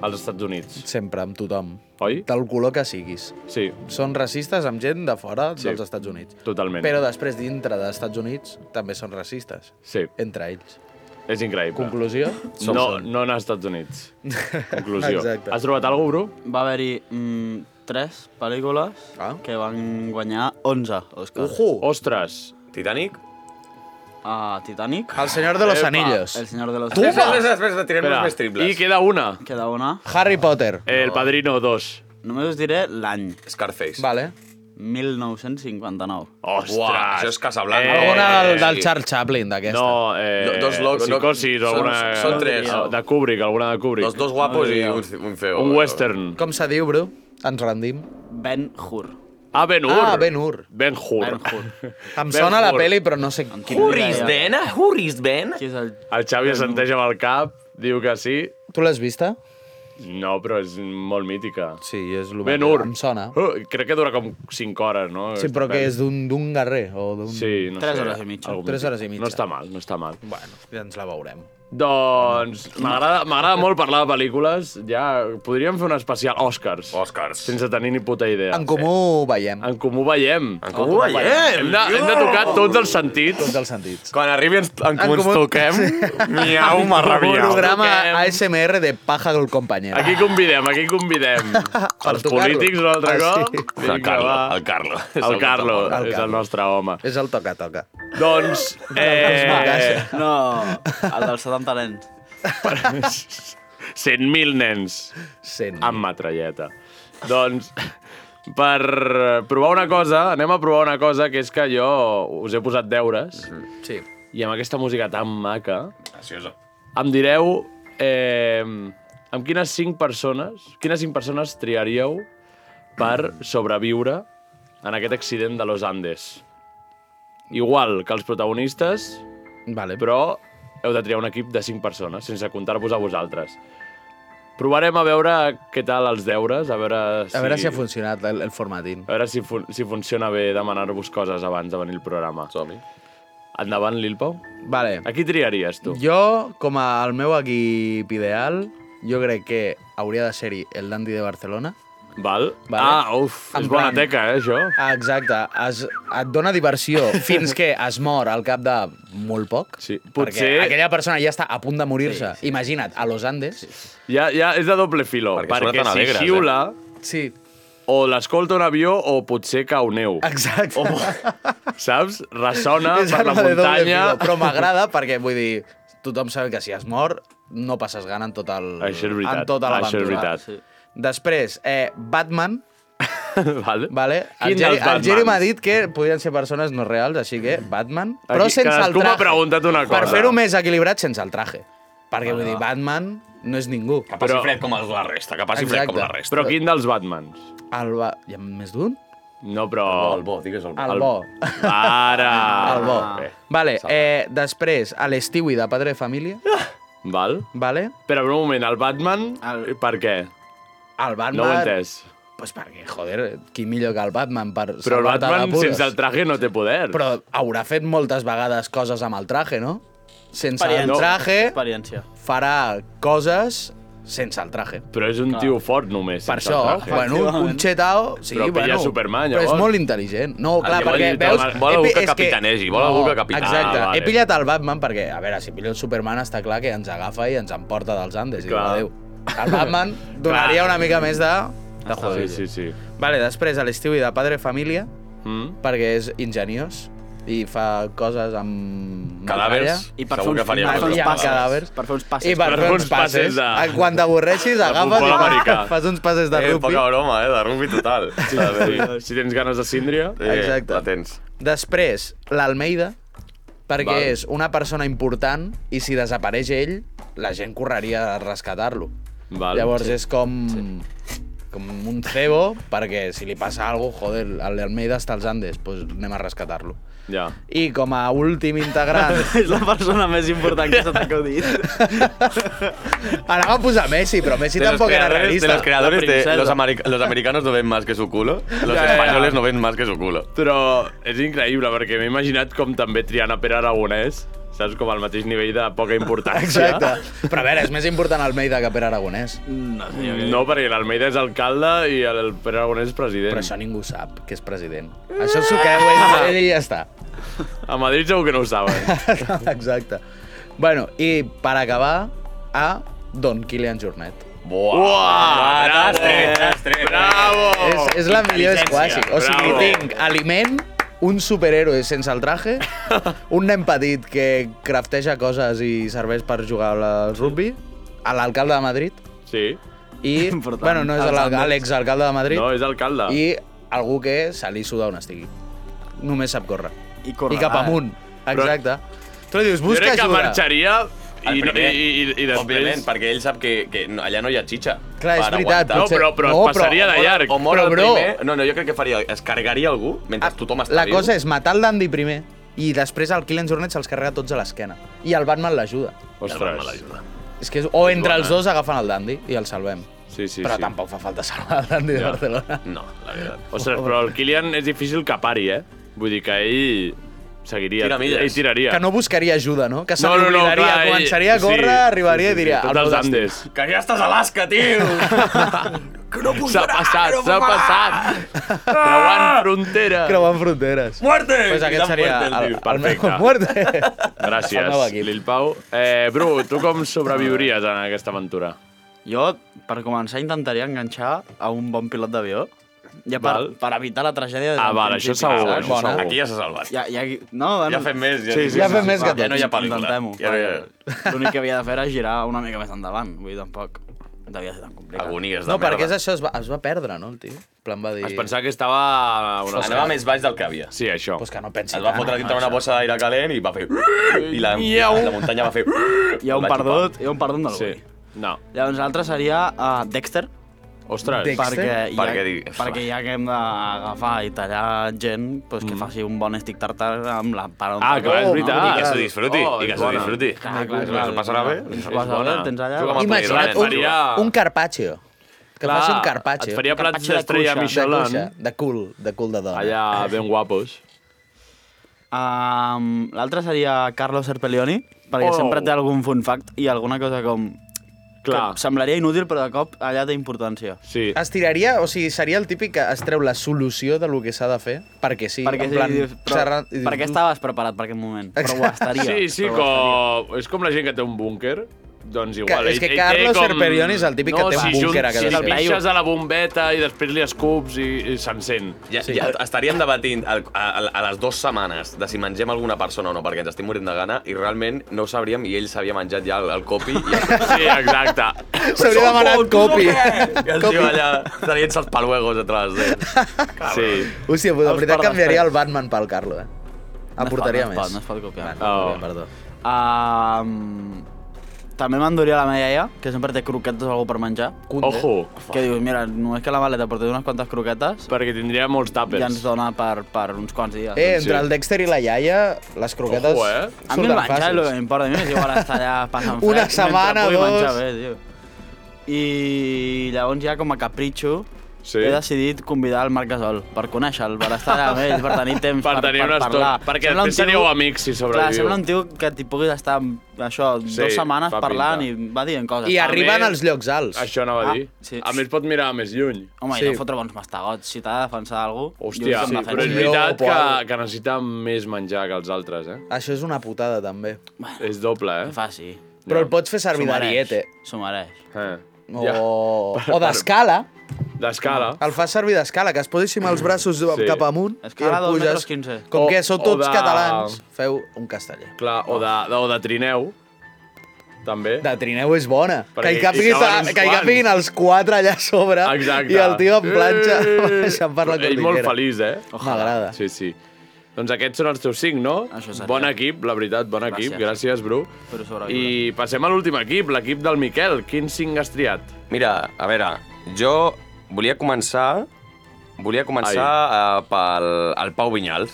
Speaker 2: als Estats Units,
Speaker 3: sempre, amb tothom.
Speaker 2: oi?
Speaker 3: Del color que siguis.
Speaker 2: Sí,
Speaker 3: són racistes amb gent de fora
Speaker 2: Sí.
Speaker 3: sí. dels Estats Units.
Speaker 2: totalment.
Speaker 3: Però després, dintre dels Estats Units, també són racistes.
Speaker 2: Sí,
Speaker 3: Entre ells.
Speaker 2: és increïble.
Speaker 3: Conclusió?
Speaker 2: No, no anar als Estats Units. Conclusió.
Speaker 3: Exacte.
Speaker 2: Has trobat alguna cosa, Bru?
Speaker 7: Va haver-hi mm, tres pel·lícules
Speaker 3: Ah.
Speaker 7: que van guanyar 11 Oscars.
Speaker 3: Ujú!
Speaker 2: Ostres,
Speaker 6: Titanic?
Speaker 7: A Titanic.
Speaker 3: El senyor de los
Speaker 2: Epa,
Speaker 3: anillos.
Speaker 7: El Senyor de los
Speaker 3: Tu
Speaker 7: Anillos.
Speaker 3: vas-
Speaker 6: Després, després, després, tirem
Speaker 2: Espera,
Speaker 6: uns més triples.
Speaker 2: I queda una.
Speaker 7: Queda una.
Speaker 3: Harry Potter.
Speaker 2: Eh, El Padrino 2.
Speaker 7: Només us diré l'any.
Speaker 6: Scarface.
Speaker 3: Vale.
Speaker 7: 1959.
Speaker 2: Ostres!
Speaker 6: Uah, això és Casablanca.
Speaker 2: Eh,
Speaker 3: Alguna del, del
Speaker 6: sí.
Speaker 3: Charles Chaplin, d'aquesta.
Speaker 2: No, eh,
Speaker 6: Do- dos locos, no,
Speaker 2: psicosis o
Speaker 6: són-
Speaker 2: alguna...
Speaker 6: són tres.
Speaker 2: o De Kubrick, alguna de Kubrick.
Speaker 6: Los dos eh, guapos i un, un feo.
Speaker 2: Un western.
Speaker 3: Com se diu, bro? Ens rendim.
Speaker 7: Ben Hur.
Speaker 2: Ah, Ben-Hur.
Speaker 3: Ah, Ben-Hur.
Speaker 2: Ben-Hur.
Speaker 7: Ben Hur.
Speaker 3: Em
Speaker 2: Ben
Speaker 3: sona la
Speaker 2: Hur.
Speaker 3: peli, però no sé...
Speaker 7: Hurris Ben?
Speaker 6: Hurris Ben?
Speaker 7: Qui és el...
Speaker 2: El Xavi assenteix amb el cap, diu que sí.
Speaker 3: Tu l'has vista?
Speaker 2: No, però és molt mítica.
Speaker 3: Sí, és el
Speaker 2: Ben-Hur.
Speaker 3: Em sona.
Speaker 2: Uh, crec que dura com 5 hores, no?
Speaker 3: Sí, però que és d'un d'un guerrer o d'un...
Speaker 2: Sí, no
Speaker 7: Tres
Speaker 2: sé.
Speaker 7: hores i mitja.
Speaker 2: algun
Speaker 3: Tres
Speaker 2: mític.
Speaker 3: hores i mitja.
Speaker 2: No està mal, no està mal.
Speaker 3: Bueno, ja ens la veurem.
Speaker 2: Doncs m'agrada m'agrada molt parlar de pel·lícules. Ja podríem fer un especial Oscars.
Speaker 6: Oscars.
Speaker 2: Sense tenir ni puta idea.
Speaker 3: En comú veiem,
Speaker 2: En comú veiem.
Speaker 6: En comú veiem!
Speaker 2: Hem de, hem de tocar tots els sentits.
Speaker 3: tots els sentits.
Speaker 6: Quan arribi ens, en comú ens
Speaker 3: comú-
Speaker 6: toquem, miau,
Speaker 3: Un
Speaker 6: marrabiau.
Speaker 3: programa
Speaker 2: toquem.
Speaker 3: ASMR de paja del companyero.
Speaker 2: Aquí convidem, aquí convidem. els
Speaker 3: tocar-lo.
Speaker 2: polítics un altre
Speaker 3: Ah,
Speaker 2: cop.
Speaker 3: sí.
Speaker 2: Vinga,
Speaker 6: el Carlo,
Speaker 2: va.
Speaker 6: el Carlo.
Speaker 2: El Carlo,
Speaker 3: El
Speaker 2: és el
Speaker 3: Carlo.
Speaker 2: nostre home.
Speaker 3: És el toca-toca.
Speaker 2: Doncs, eh,
Speaker 7: No, el dels 70 nens.
Speaker 2: 100.000 nens
Speaker 3: Sent.
Speaker 2: amb matralleta. Doncs, per provar una cosa, anem a provar una cosa, que és que jo us he posat deures,
Speaker 6: Mhm.
Speaker 3: Sí.
Speaker 2: i amb aquesta música tan maca,
Speaker 6: Gracioso.
Speaker 2: em direu eh, amb quines cinc persones, quines cinc persones triaríeu per sobreviure en aquest accident de los Andes. Igual que els protagonistes,
Speaker 3: Vale.
Speaker 2: però heu de triar un equip de 5 persones, sense comptar-vos a vosaltres. Provarem a veure què tal els deures, a veure si,
Speaker 3: A veure si ha funcionat el, el formatín.
Speaker 2: a veure si, fun si funciona bé demanar-vos coses abans de venir al programa.
Speaker 6: Som-hi.
Speaker 2: Endavant, Lil Pau.
Speaker 3: Vale.
Speaker 2: A qui triaries, tu?
Speaker 3: Jo, com a el meu equip ideal, jo crec que hauria de ser-hi el Dandy de Barcelona.
Speaker 2: Val?
Speaker 3: Vale.
Speaker 2: Ah, uf,
Speaker 3: En
Speaker 2: és bona
Speaker 3: plan-
Speaker 2: teca, eh, això.
Speaker 3: Ah, Exacte, es, et dona diversió fins que es mor al cap de molt poc.
Speaker 2: Sí, potser-
Speaker 3: Perquè aquella persona ja està a punt de morir-se. Sí, sí. Imagina't, a Los Andes.
Speaker 2: Ja, ja és de doble filó,
Speaker 6: Perquè
Speaker 2: perquè,
Speaker 6: sona
Speaker 2: perquè
Speaker 6: tan
Speaker 2: si
Speaker 6: alegres, eh?
Speaker 2: xiula,
Speaker 3: Sí,
Speaker 2: o l'escolta un avió o potser cau neu.
Speaker 3: exacte.
Speaker 2: O, saps? Ressona
Speaker 3: És
Speaker 2: Oh, per la
Speaker 3: arma de doble
Speaker 2: muntanya.
Speaker 3: filo, però m'agrada perquè, vull dir, tothom sabe que si es mor no passes gana en tot el...
Speaker 2: Això és veritat,
Speaker 3: En tota
Speaker 2: això és
Speaker 3: l'aventura.
Speaker 2: veritat.
Speaker 3: Després, eh, Batman,
Speaker 2: Vale.
Speaker 3: vale?
Speaker 2: Quin
Speaker 3: El Geri,
Speaker 2: dels
Speaker 3: el Geri
Speaker 2: Batmans?
Speaker 3: m'ha dit que podien ser persones no reals, així que Batman, però
Speaker 2: Aquí
Speaker 3: sense el
Speaker 2: cadascú m'ha
Speaker 3: traje.
Speaker 2: preguntat una
Speaker 3: Per
Speaker 2: cosa. Ah.
Speaker 3: fer-ho més equilibrat sense el traje. Perquè, vull dir, Batman no és ningú.
Speaker 6: Que passi
Speaker 2: Però-
Speaker 6: fred com els de la resta, que passi fred com
Speaker 3: Exacte.
Speaker 6: la resta.
Speaker 2: Però quin dels Batmans?
Speaker 3: El ba... Hi ha més d'un?
Speaker 2: No, però...
Speaker 6: Oh, el bo, digues
Speaker 2: Doncs
Speaker 6: el bo.
Speaker 3: El bo.
Speaker 2: Ara!
Speaker 3: El bo.
Speaker 2: Bé,
Speaker 3: Ah, Vale, eh, després, a l'Stewie de Padre de
Speaker 2: Ah!
Speaker 3: Família,
Speaker 2: val?
Speaker 3: vale?
Speaker 2: Però un moment, el Batman, eh,
Speaker 7: El-
Speaker 2: per què?
Speaker 3: El Batman...
Speaker 2: No ho he entès.
Speaker 3: Pues perquè, joder, qui millor que el Batman per
Speaker 2: Però el
Speaker 3: salvar-te
Speaker 2: Batman
Speaker 3: d'apures?
Speaker 2: sense el traje no té poder.
Speaker 3: Però haurà fet moltes vegades coses amb el traje, no? Sense el
Speaker 7: Experiència.
Speaker 3: traje
Speaker 7: Experiència.
Speaker 3: farà coses sense el traje.
Speaker 2: Però és un tio fort només.
Speaker 3: Per
Speaker 2: sense
Speaker 3: això,
Speaker 2: el traje.
Speaker 3: bueno, un xetao... Sí,
Speaker 2: Però pilla
Speaker 3: bueno,
Speaker 2: Superman,
Speaker 3: Però
Speaker 2: llavors.
Speaker 3: és molt intel·ligent. No, clar,
Speaker 2: llavors
Speaker 3: perquè
Speaker 2: li
Speaker 3: veus...
Speaker 2: dona-
Speaker 6: vol algú
Speaker 3: he pi-
Speaker 6: que
Speaker 3: és
Speaker 6: capitanegi, vol algú que capitani.
Speaker 3: Exacte.
Speaker 2: Ah, vale.
Speaker 3: He pillat el Batman perquè, a veure, si pillo el Superman està clar que ens agafa i ens emporta dels Andes. I diu,
Speaker 2: Clar.
Speaker 3: adéu. El Batman donaria una mica més de... de
Speaker 2: Ah, Sí,
Speaker 3: joder.
Speaker 2: sí, sí.
Speaker 3: Vale, després a l'estiu i de Padre Família,
Speaker 2: Mm?
Speaker 3: perquè és ingeniós i fa coses amb...
Speaker 6: Cadàvers.
Speaker 7: I per fer
Speaker 6: Segur que
Speaker 7: uns-
Speaker 6: faria
Speaker 7: per
Speaker 3: Uns
Speaker 7: fer
Speaker 6: coses.
Speaker 7: uns
Speaker 3: passes.
Speaker 7: passes.
Speaker 3: cadàvers.
Speaker 7: Per fer uns passes.
Speaker 3: I per fer uns passes.
Speaker 2: de-
Speaker 3: de... Quan t'avorreixis, agafes
Speaker 2: futbol
Speaker 3: i
Speaker 2: americà.
Speaker 3: fas uns passes de
Speaker 6: Eh,
Speaker 3: rugby.
Speaker 6: poca broma, eh, de rugby total.
Speaker 2: Sí, sí. Si tens ganes de síndria...
Speaker 6: Eh,
Speaker 3: Exacte.
Speaker 6: La tens.
Speaker 3: Després, l'Almeida, perquè
Speaker 2: Val.
Speaker 3: és una persona important i si desapareix ell, la gent correria a rescatar-lo.
Speaker 2: Val.
Speaker 3: Llavors és com... com un cebo, perquè si li passa alguna cosa, joder, l'Almeida està als Andes, doncs anem a rescatar-lo.
Speaker 2: Ja.
Speaker 3: I com a últim integrant
Speaker 7: És la persona més important que se t'ha acudit.
Speaker 3: Anava a posar Messi, pero Messi tampoco era
Speaker 6: creadores, de
Speaker 3: realista.
Speaker 6: los creadores
Speaker 7: La
Speaker 6: de
Speaker 7: princesa.
Speaker 6: los, americ- los americanos no ven más que su culo, los
Speaker 2: Ya, ya, ya.
Speaker 6: españoles no ven más que su culo.
Speaker 2: Però és increïble, perquè m'he imaginat com també triant a Pere Aragonès, saps? Com al mateix nivell de poca importància.
Speaker 3: Exacte. Però a veure, és més important Almeida que Pere Aragonès.
Speaker 7: No, sé, jo
Speaker 2: No, perquè l'Almeida és alcalde i el Pere Aragonès és president.
Speaker 3: Però això ningú sap, que és president. Això s'ho creu ell, ell i ja està.
Speaker 2: A Madrid segur que no ho saben.
Speaker 3: Exacte. Bueno, i per acabar, a Don Kilian Jornet.
Speaker 6: Buah! Desastre, desastre.
Speaker 2: Bravo!
Speaker 3: eh? és, és la millor squashi. O sigui,
Speaker 2: bravo.
Speaker 3: tinc aliment, un superhéroe sense el traje, un nen petit que crafteja coses i serveix per jugar al rugby, a l'alcalde de Madrid,
Speaker 2: Sí.
Speaker 3: i...
Speaker 7: Important.
Speaker 3: Bueno, no és
Speaker 7: Els
Speaker 3: l'alca-
Speaker 7: Andes.
Speaker 3: l'exalcalde de Madrid.
Speaker 2: No, és alcalde.
Speaker 3: i algú que se li suda on estigui. Només sap córrer.
Speaker 7: I correrà,
Speaker 3: I cap
Speaker 7: eh?
Speaker 3: amunt. Exacte. Tu li dius,
Speaker 2: Ah. Jo
Speaker 3: busca
Speaker 2: crec que
Speaker 3: ajuda.
Speaker 2: marxaria
Speaker 6: El
Speaker 2: i, no- i,
Speaker 6: primer,
Speaker 2: i, i després...
Speaker 6: Òbviament, perquè ell sap que, que no- allà no hi ha xitxa.
Speaker 3: Clar, és
Speaker 6: per
Speaker 3: veritat,
Speaker 6: aguantar.
Speaker 2: No,
Speaker 3: potser-
Speaker 2: però, però
Speaker 3: No,
Speaker 2: es passaria
Speaker 3: però-
Speaker 2: de llarg.
Speaker 6: O mor
Speaker 3: Però,
Speaker 6: el
Speaker 3: bro- Ah,
Speaker 6: primer... No, no, jo crec que faria... Es carregaria algú mentre tothom està
Speaker 3: La
Speaker 6: viu.
Speaker 3: cosa és matar el Dandy primer i després el Killian Jornet se'ls carrega tots a l'esquena. I el Batman l'ajuda.
Speaker 2: Ostres.
Speaker 3: És que és, o entre els dos agafen el Dandy i el salvem.
Speaker 2: Sí, sí,
Speaker 3: Sí, Però
Speaker 2: sí.
Speaker 3: tampoc fa falta salvar el Dandy de
Speaker 2: Ja.
Speaker 3: Barcelona.
Speaker 6: No, la veritat.
Speaker 2: Ostres, però el Kilian és difícil que pari, eh? Vull dir que ell... seguiria.
Speaker 6: Tira milles.
Speaker 2: Ell tiraria.
Speaker 3: Que no buscaria ajuda, no? Que se
Speaker 2: No,
Speaker 3: no,
Speaker 2: no, no,
Speaker 3: no,
Speaker 2: clar, ell-
Speaker 3: començaria a córrer,
Speaker 2: sí,
Speaker 3: arribaria
Speaker 2: sí, sí,
Speaker 3: i diria...
Speaker 2: sí,
Speaker 3: "Al
Speaker 2: Tots els
Speaker 3: meu destí".
Speaker 2: Andes.
Speaker 6: Que ja estàs a Alaska, tio! que no puc
Speaker 2: S'ha
Speaker 6: parar,
Speaker 2: passat,
Speaker 6: no puc
Speaker 2: s'ha
Speaker 6: parar.
Speaker 2: passat. Creuant frontera.
Speaker 3: Creuant fronteres.
Speaker 6: Muerte!
Speaker 3: Pues
Speaker 6: Cridant
Speaker 3: aquest seria
Speaker 6: muerte,
Speaker 3: el,
Speaker 6: tio.
Speaker 3: el meu
Speaker 2: Perfecte.
Speaker 3: muerte.
Speaker 2: Gràcies,
Speaker 3: El meu equip.
Speaker 2: Lil Pau. Eh, Bru, tu com sobreviuries en aquesta aventura?
Speaker 7: Jo, per començar, intentaria enganxar a un bon pilot d'avió. Ja per,
Speaker 2: Val.
Speaker 7: per evitar la tragèdia... des
Speaker 2: Ah,
Speaker 7: del
Speaker 2: val, això
Speaker 7: principi,
Speaker 2: segur,
Speaker 7: saps?
Speaker 2: això
Speaker 3: Bona.
Speaker 2: segur.
Speaker 6: Aquí ja s'ha salvat.
Speaker 7: Ja, ja, no, bueno,
Speaker 6: Ja fem més, ja-
Speaker 3: sí, Ja sí, fem sí. més que
Speaker 7: Va,
Speaker 3: tot.
Speaker 6: Ja no hi ha pel·lícula.
Speaker 7: Intentem-ho.
Speaker 6: Ja no hi ha-
Speaker 7: perquè L'únic que havia de fer era girar una mica més endavant. Vull dir, tampoc devia ser tan complicat.
Speaker 6: Agonies de
Speaker 3: No, perquè és
Speaker 6: merda.
Speaker 3: això, es va, es va perdre, no, el tio? En plan va dir...
Speaker 2: Es pensava que estava... a Una
Speaker 6: Anava més baix del que havia.
Speaker 2: Sí, això.
Speaker 3: Pues que no pensi eh?
Speaker 6: Es va fotre dintre una bossa d'aire calent i va fer... I la, la muntanya va fer...
Speaker 7: Hi ha un
Speaker 6: Va xupar.
Speaker 7: perdut, hi ha un perdut del
Speaker 2: Sí.
Speaker 7: sí.
Speaker 2: No.
Speaker 7: Llavors l'altre seria uh, Dexter,
Speaker 2: Ostres.
Speaker 3: Dexter?
Speaker 7: perquè, ja,
Speaker 6: Perquè digui-
Speaker 7: perquè ja que hem d'agafar i tallar gent, doncs
Speaker 3: Mm.
Speaker 7: que faci un bon stick tartar amb la part...
Speaker 2: Ah, que és veritat.
Speaker 6: Oh, I que s'ho disfruti,
Speaker 2: Oh,
Speaker 6: i que
Speaker 2: és
Speaker 6: s'ho
Speaker 2: bona.
Speaker 6: disfruti.
Speaker 7: Clar, clar,
Speaker 6: S'ho
Speaker 7: clar.
Speaker 6: passarà bé.
Speaker 7: S'ho passarà bé,
Speaker 2: bona.
Speaker 7: tens allà...
Speaker 6: Juga amb el
Speaker 3: Imagina't
Speaker 6: Tony
Speaker 3: un,
Speaker 6: Ryan,
Speaker 2: faria-
Speaker 3: un carpaccio. Que
Speaker 2: Clar,
Speaker 3: faci un carpaccio.
Speaker 2: Et faria plats
Speaker 7: Carpaccio de
Speaker 2: d'estrella
Speaker 7: cuixa.
Speaker 3: de
Speaker 2: Michelin,
Speaker 3: cuixa, Ah, de cul, de cul de dona.
Speaker 2: allà ben guapos.
Speaker 7: Um, l'altre seria Carlos Serpellioni, perquè
Speaker 2: Oh.
Speaker 7: oh. sempre té algun fun fact i alguna cosa com...
Speaker 2: Clar.
Speaker 7: Que semblaria inútil, però de cop allà té importància.
Speaker 2: Sí.
Speaker 3: Es tiraria, o sigui, seria el típic que es treu la solució de lo que s'ha de fer, perquè sí,
Speaker 7: perquè,
Speaker 3: en plan...
Speaker 7: sí, dius, però,
Speaker 3: serra- i dius, "Mm".
Speaker 7: perquè
Speaker 3: "Tu,
Speaker 7: estaves preparat per aquest moment, però ho estaria.
Speaker 2: Sí, sí,
Speaker 7: però ho estaria.
Speaker 2: com... És com la gent que té un búnquer. Doncs
Speaker 3: Que,
Speaker 2: igual,
Speaker 3: és que
Speaker 2: ell, ell
Speaker 3: Carlos
Speaker 2: té com...
Speaker 3: Herperion és el típic que té un búnquer a
Speaker 2: Si,
Speaker 3: casa
Speaker 2: si
Speaker 3: seva.
Speaker 2: el pixes a la bombeta i després li escups i, i s'encén.
Speaker 6: Ja, sí. ja estaríem debatint a, a, a les dues setmanes de si mengem alguna persona o no, perquè ens estem morint de gana, i realment no ho sabríem, i ell s'havia menjat ja el, el copi. I
Speaker 2: Sí, exacte.
Speaker 3: S'hauria demanat copi.
Speaker 6: I el tio allà traient-se els paluegos entre les dents.
Speaker 2: Sí.
Speaker 3: Hòstia, però de
Speaker 7: Els
Speaker 3: veritat
Speaker 7: per
Speaker 3: canviaria
Speaker 7: respecte.
Speaker 3: el Batman pel Carlo, eh? Aportaria
Speaker 7: no es
Speaker 3: més.
Speaker 7: pot, No es pot copiar.
Speaker 3: Vale,
Speaker 2: Oh.
Speaker 3: molt bé, Perdó.
Speaker 7: Um, també m'enduria la meva iaia, que sempre té croquetes o alguna per menjar.
Speaker 2: Ojo,
Speaker 7: Que dius, mira, només que la maleta porta unes quantes croquetes
Speaker 2: perquè tindria molts
Speaker 7: ja
Speaker 2: tàpers.
Speaker 7: ens dona per, per uns quants dies.
Speaker 3: Eh, entre
Speaker 2: Sí.
Speaker 3: el Dexter i la iaia, les croquetes
Speaker 2: Ojo, eh?
Speaker 7: a mi el
Speaker 3: surten
Speaker 7: menjar és el que
Speaker 3: fàcils.
Speaker 7: m'importa, a mi m'és igual estar allà passant fred.
Speaker 3: Una
Speaker 7: mentre
Speaker 3: setmana,
Speaker 7: pugui
Speaker 3: dos.
Speaker 7: menjar Bé, tio. I llavors ja com a capritxo
Speaker 2: Sí.
Speaker 7: he decidit convidar el Marc Gasol per conèixer-lo, per estar allà amb ell, per tenir temps
Speaker 2: Per tenir una estona,
Speaker 7: parlar.
Speaker 2: perquè
Speaker 7: Sembla un
Speaker 2: després seríeu amics, si sobreviviu.
Speaker 7: Clar, sembla un tio que t'hi puguis estar amb això,
Speaker 2: Sí,
Speaker 7: dues setmanes
Speaker 2: fa
Speaker 7: parlant
Speaker 2: pinta.
Speaker 7: i va dient coses.
Speaker 3: I
Speaker 7: Ah,
Speaker 3: arriben
Speaker 2: més-
Speaker 3: als llocs alts.
Speaker 2: Això anava a
Speaker 7: Ah,
Speaker 2: dir.
Speaker 7: sí.
Speaker 2: A més, pot mirar més lluny.
Speaker 7: Home,
Speaker 3: Sí.
Speaker 7: sí. i no fotre bons mastegots. Si t'ha de defensar algú...
Speaker 2: Hòstia, sí, però és
Speaker 3: defensa.
Speaker 2: veritat
Speaker 3: Jo,
Speaker 2: que,
Speaker 3: Pau.
Speaker 2: que necessita més menjar que els altres, eh?
Speaker 3: Això és una putada, també.
Speaker 2: És doble,
Speaker 7: Que
Speaker 2: eh?
Speaker 7: faci. S'ho
Speaker 3: Però el pots fer servir de
Speaker 7: mereix,
Speaker 3: diete.
Speaker 7: S'ho mereix.
Speaker 2: eh. Ja.
Speaker 3: O, o d'escala.
Speaker 2: D'escala.
Speaker 7: Ah.
Speaker 3: El fas servir d'escala, que es posessin els braços
Speaker 2: Mm. Sí.
Speaker 3: cap amunt
Speaker 7: Escala
Speaker 3: i el
Speaker 7: dos
Speaker 3: puges.
Speaker 7: metres quinze.
Speaker 3: Com
Speaker 2: O-
Speaker 3: que sou
Speaker 2: o
Speaker 3: tots
Speaker 2: de-
Speaker 3: catalans, feu un casteller.
Speaker 2: Clar, o de, o de trineu, també.
Speaker 3: De trineu és bona.
Speaker 2: Perquè
Speaker 3: que hi
Speaker 2: hi
Speaker 3: capiguin,
Speaker 2: caben uns
Speaker 3: que hi
Speaker 2: quants.
Speaker 3: capiguin els quatre allà a sobre
Speaker 2: Exacte.
Speaker 3: i el tio en planxa
Speaker 2: Eh!
Speaker 3: baixant per la
Speaker 2: Ell
Speaker 3: cordillera.
Speaker 2: molt feliç, eh?
Speaker 3: M'agrada.
Speaker 2: Sí, sí. Doncs aquests són els teus cinc, no?
Speaker 7: Això seria.
Speaker 2: Bon equip, la veritat, bon equip. Gràcies, Bru.
Speaker 7: Per sobreviure.
Speaker 2: I passem a l'últim equip, l'equip del Miquel. Quin cinc has triat?
Speaker 6: Mira, a veure, jo volia començar... Volia començar uh, pel el Pau Vinyals.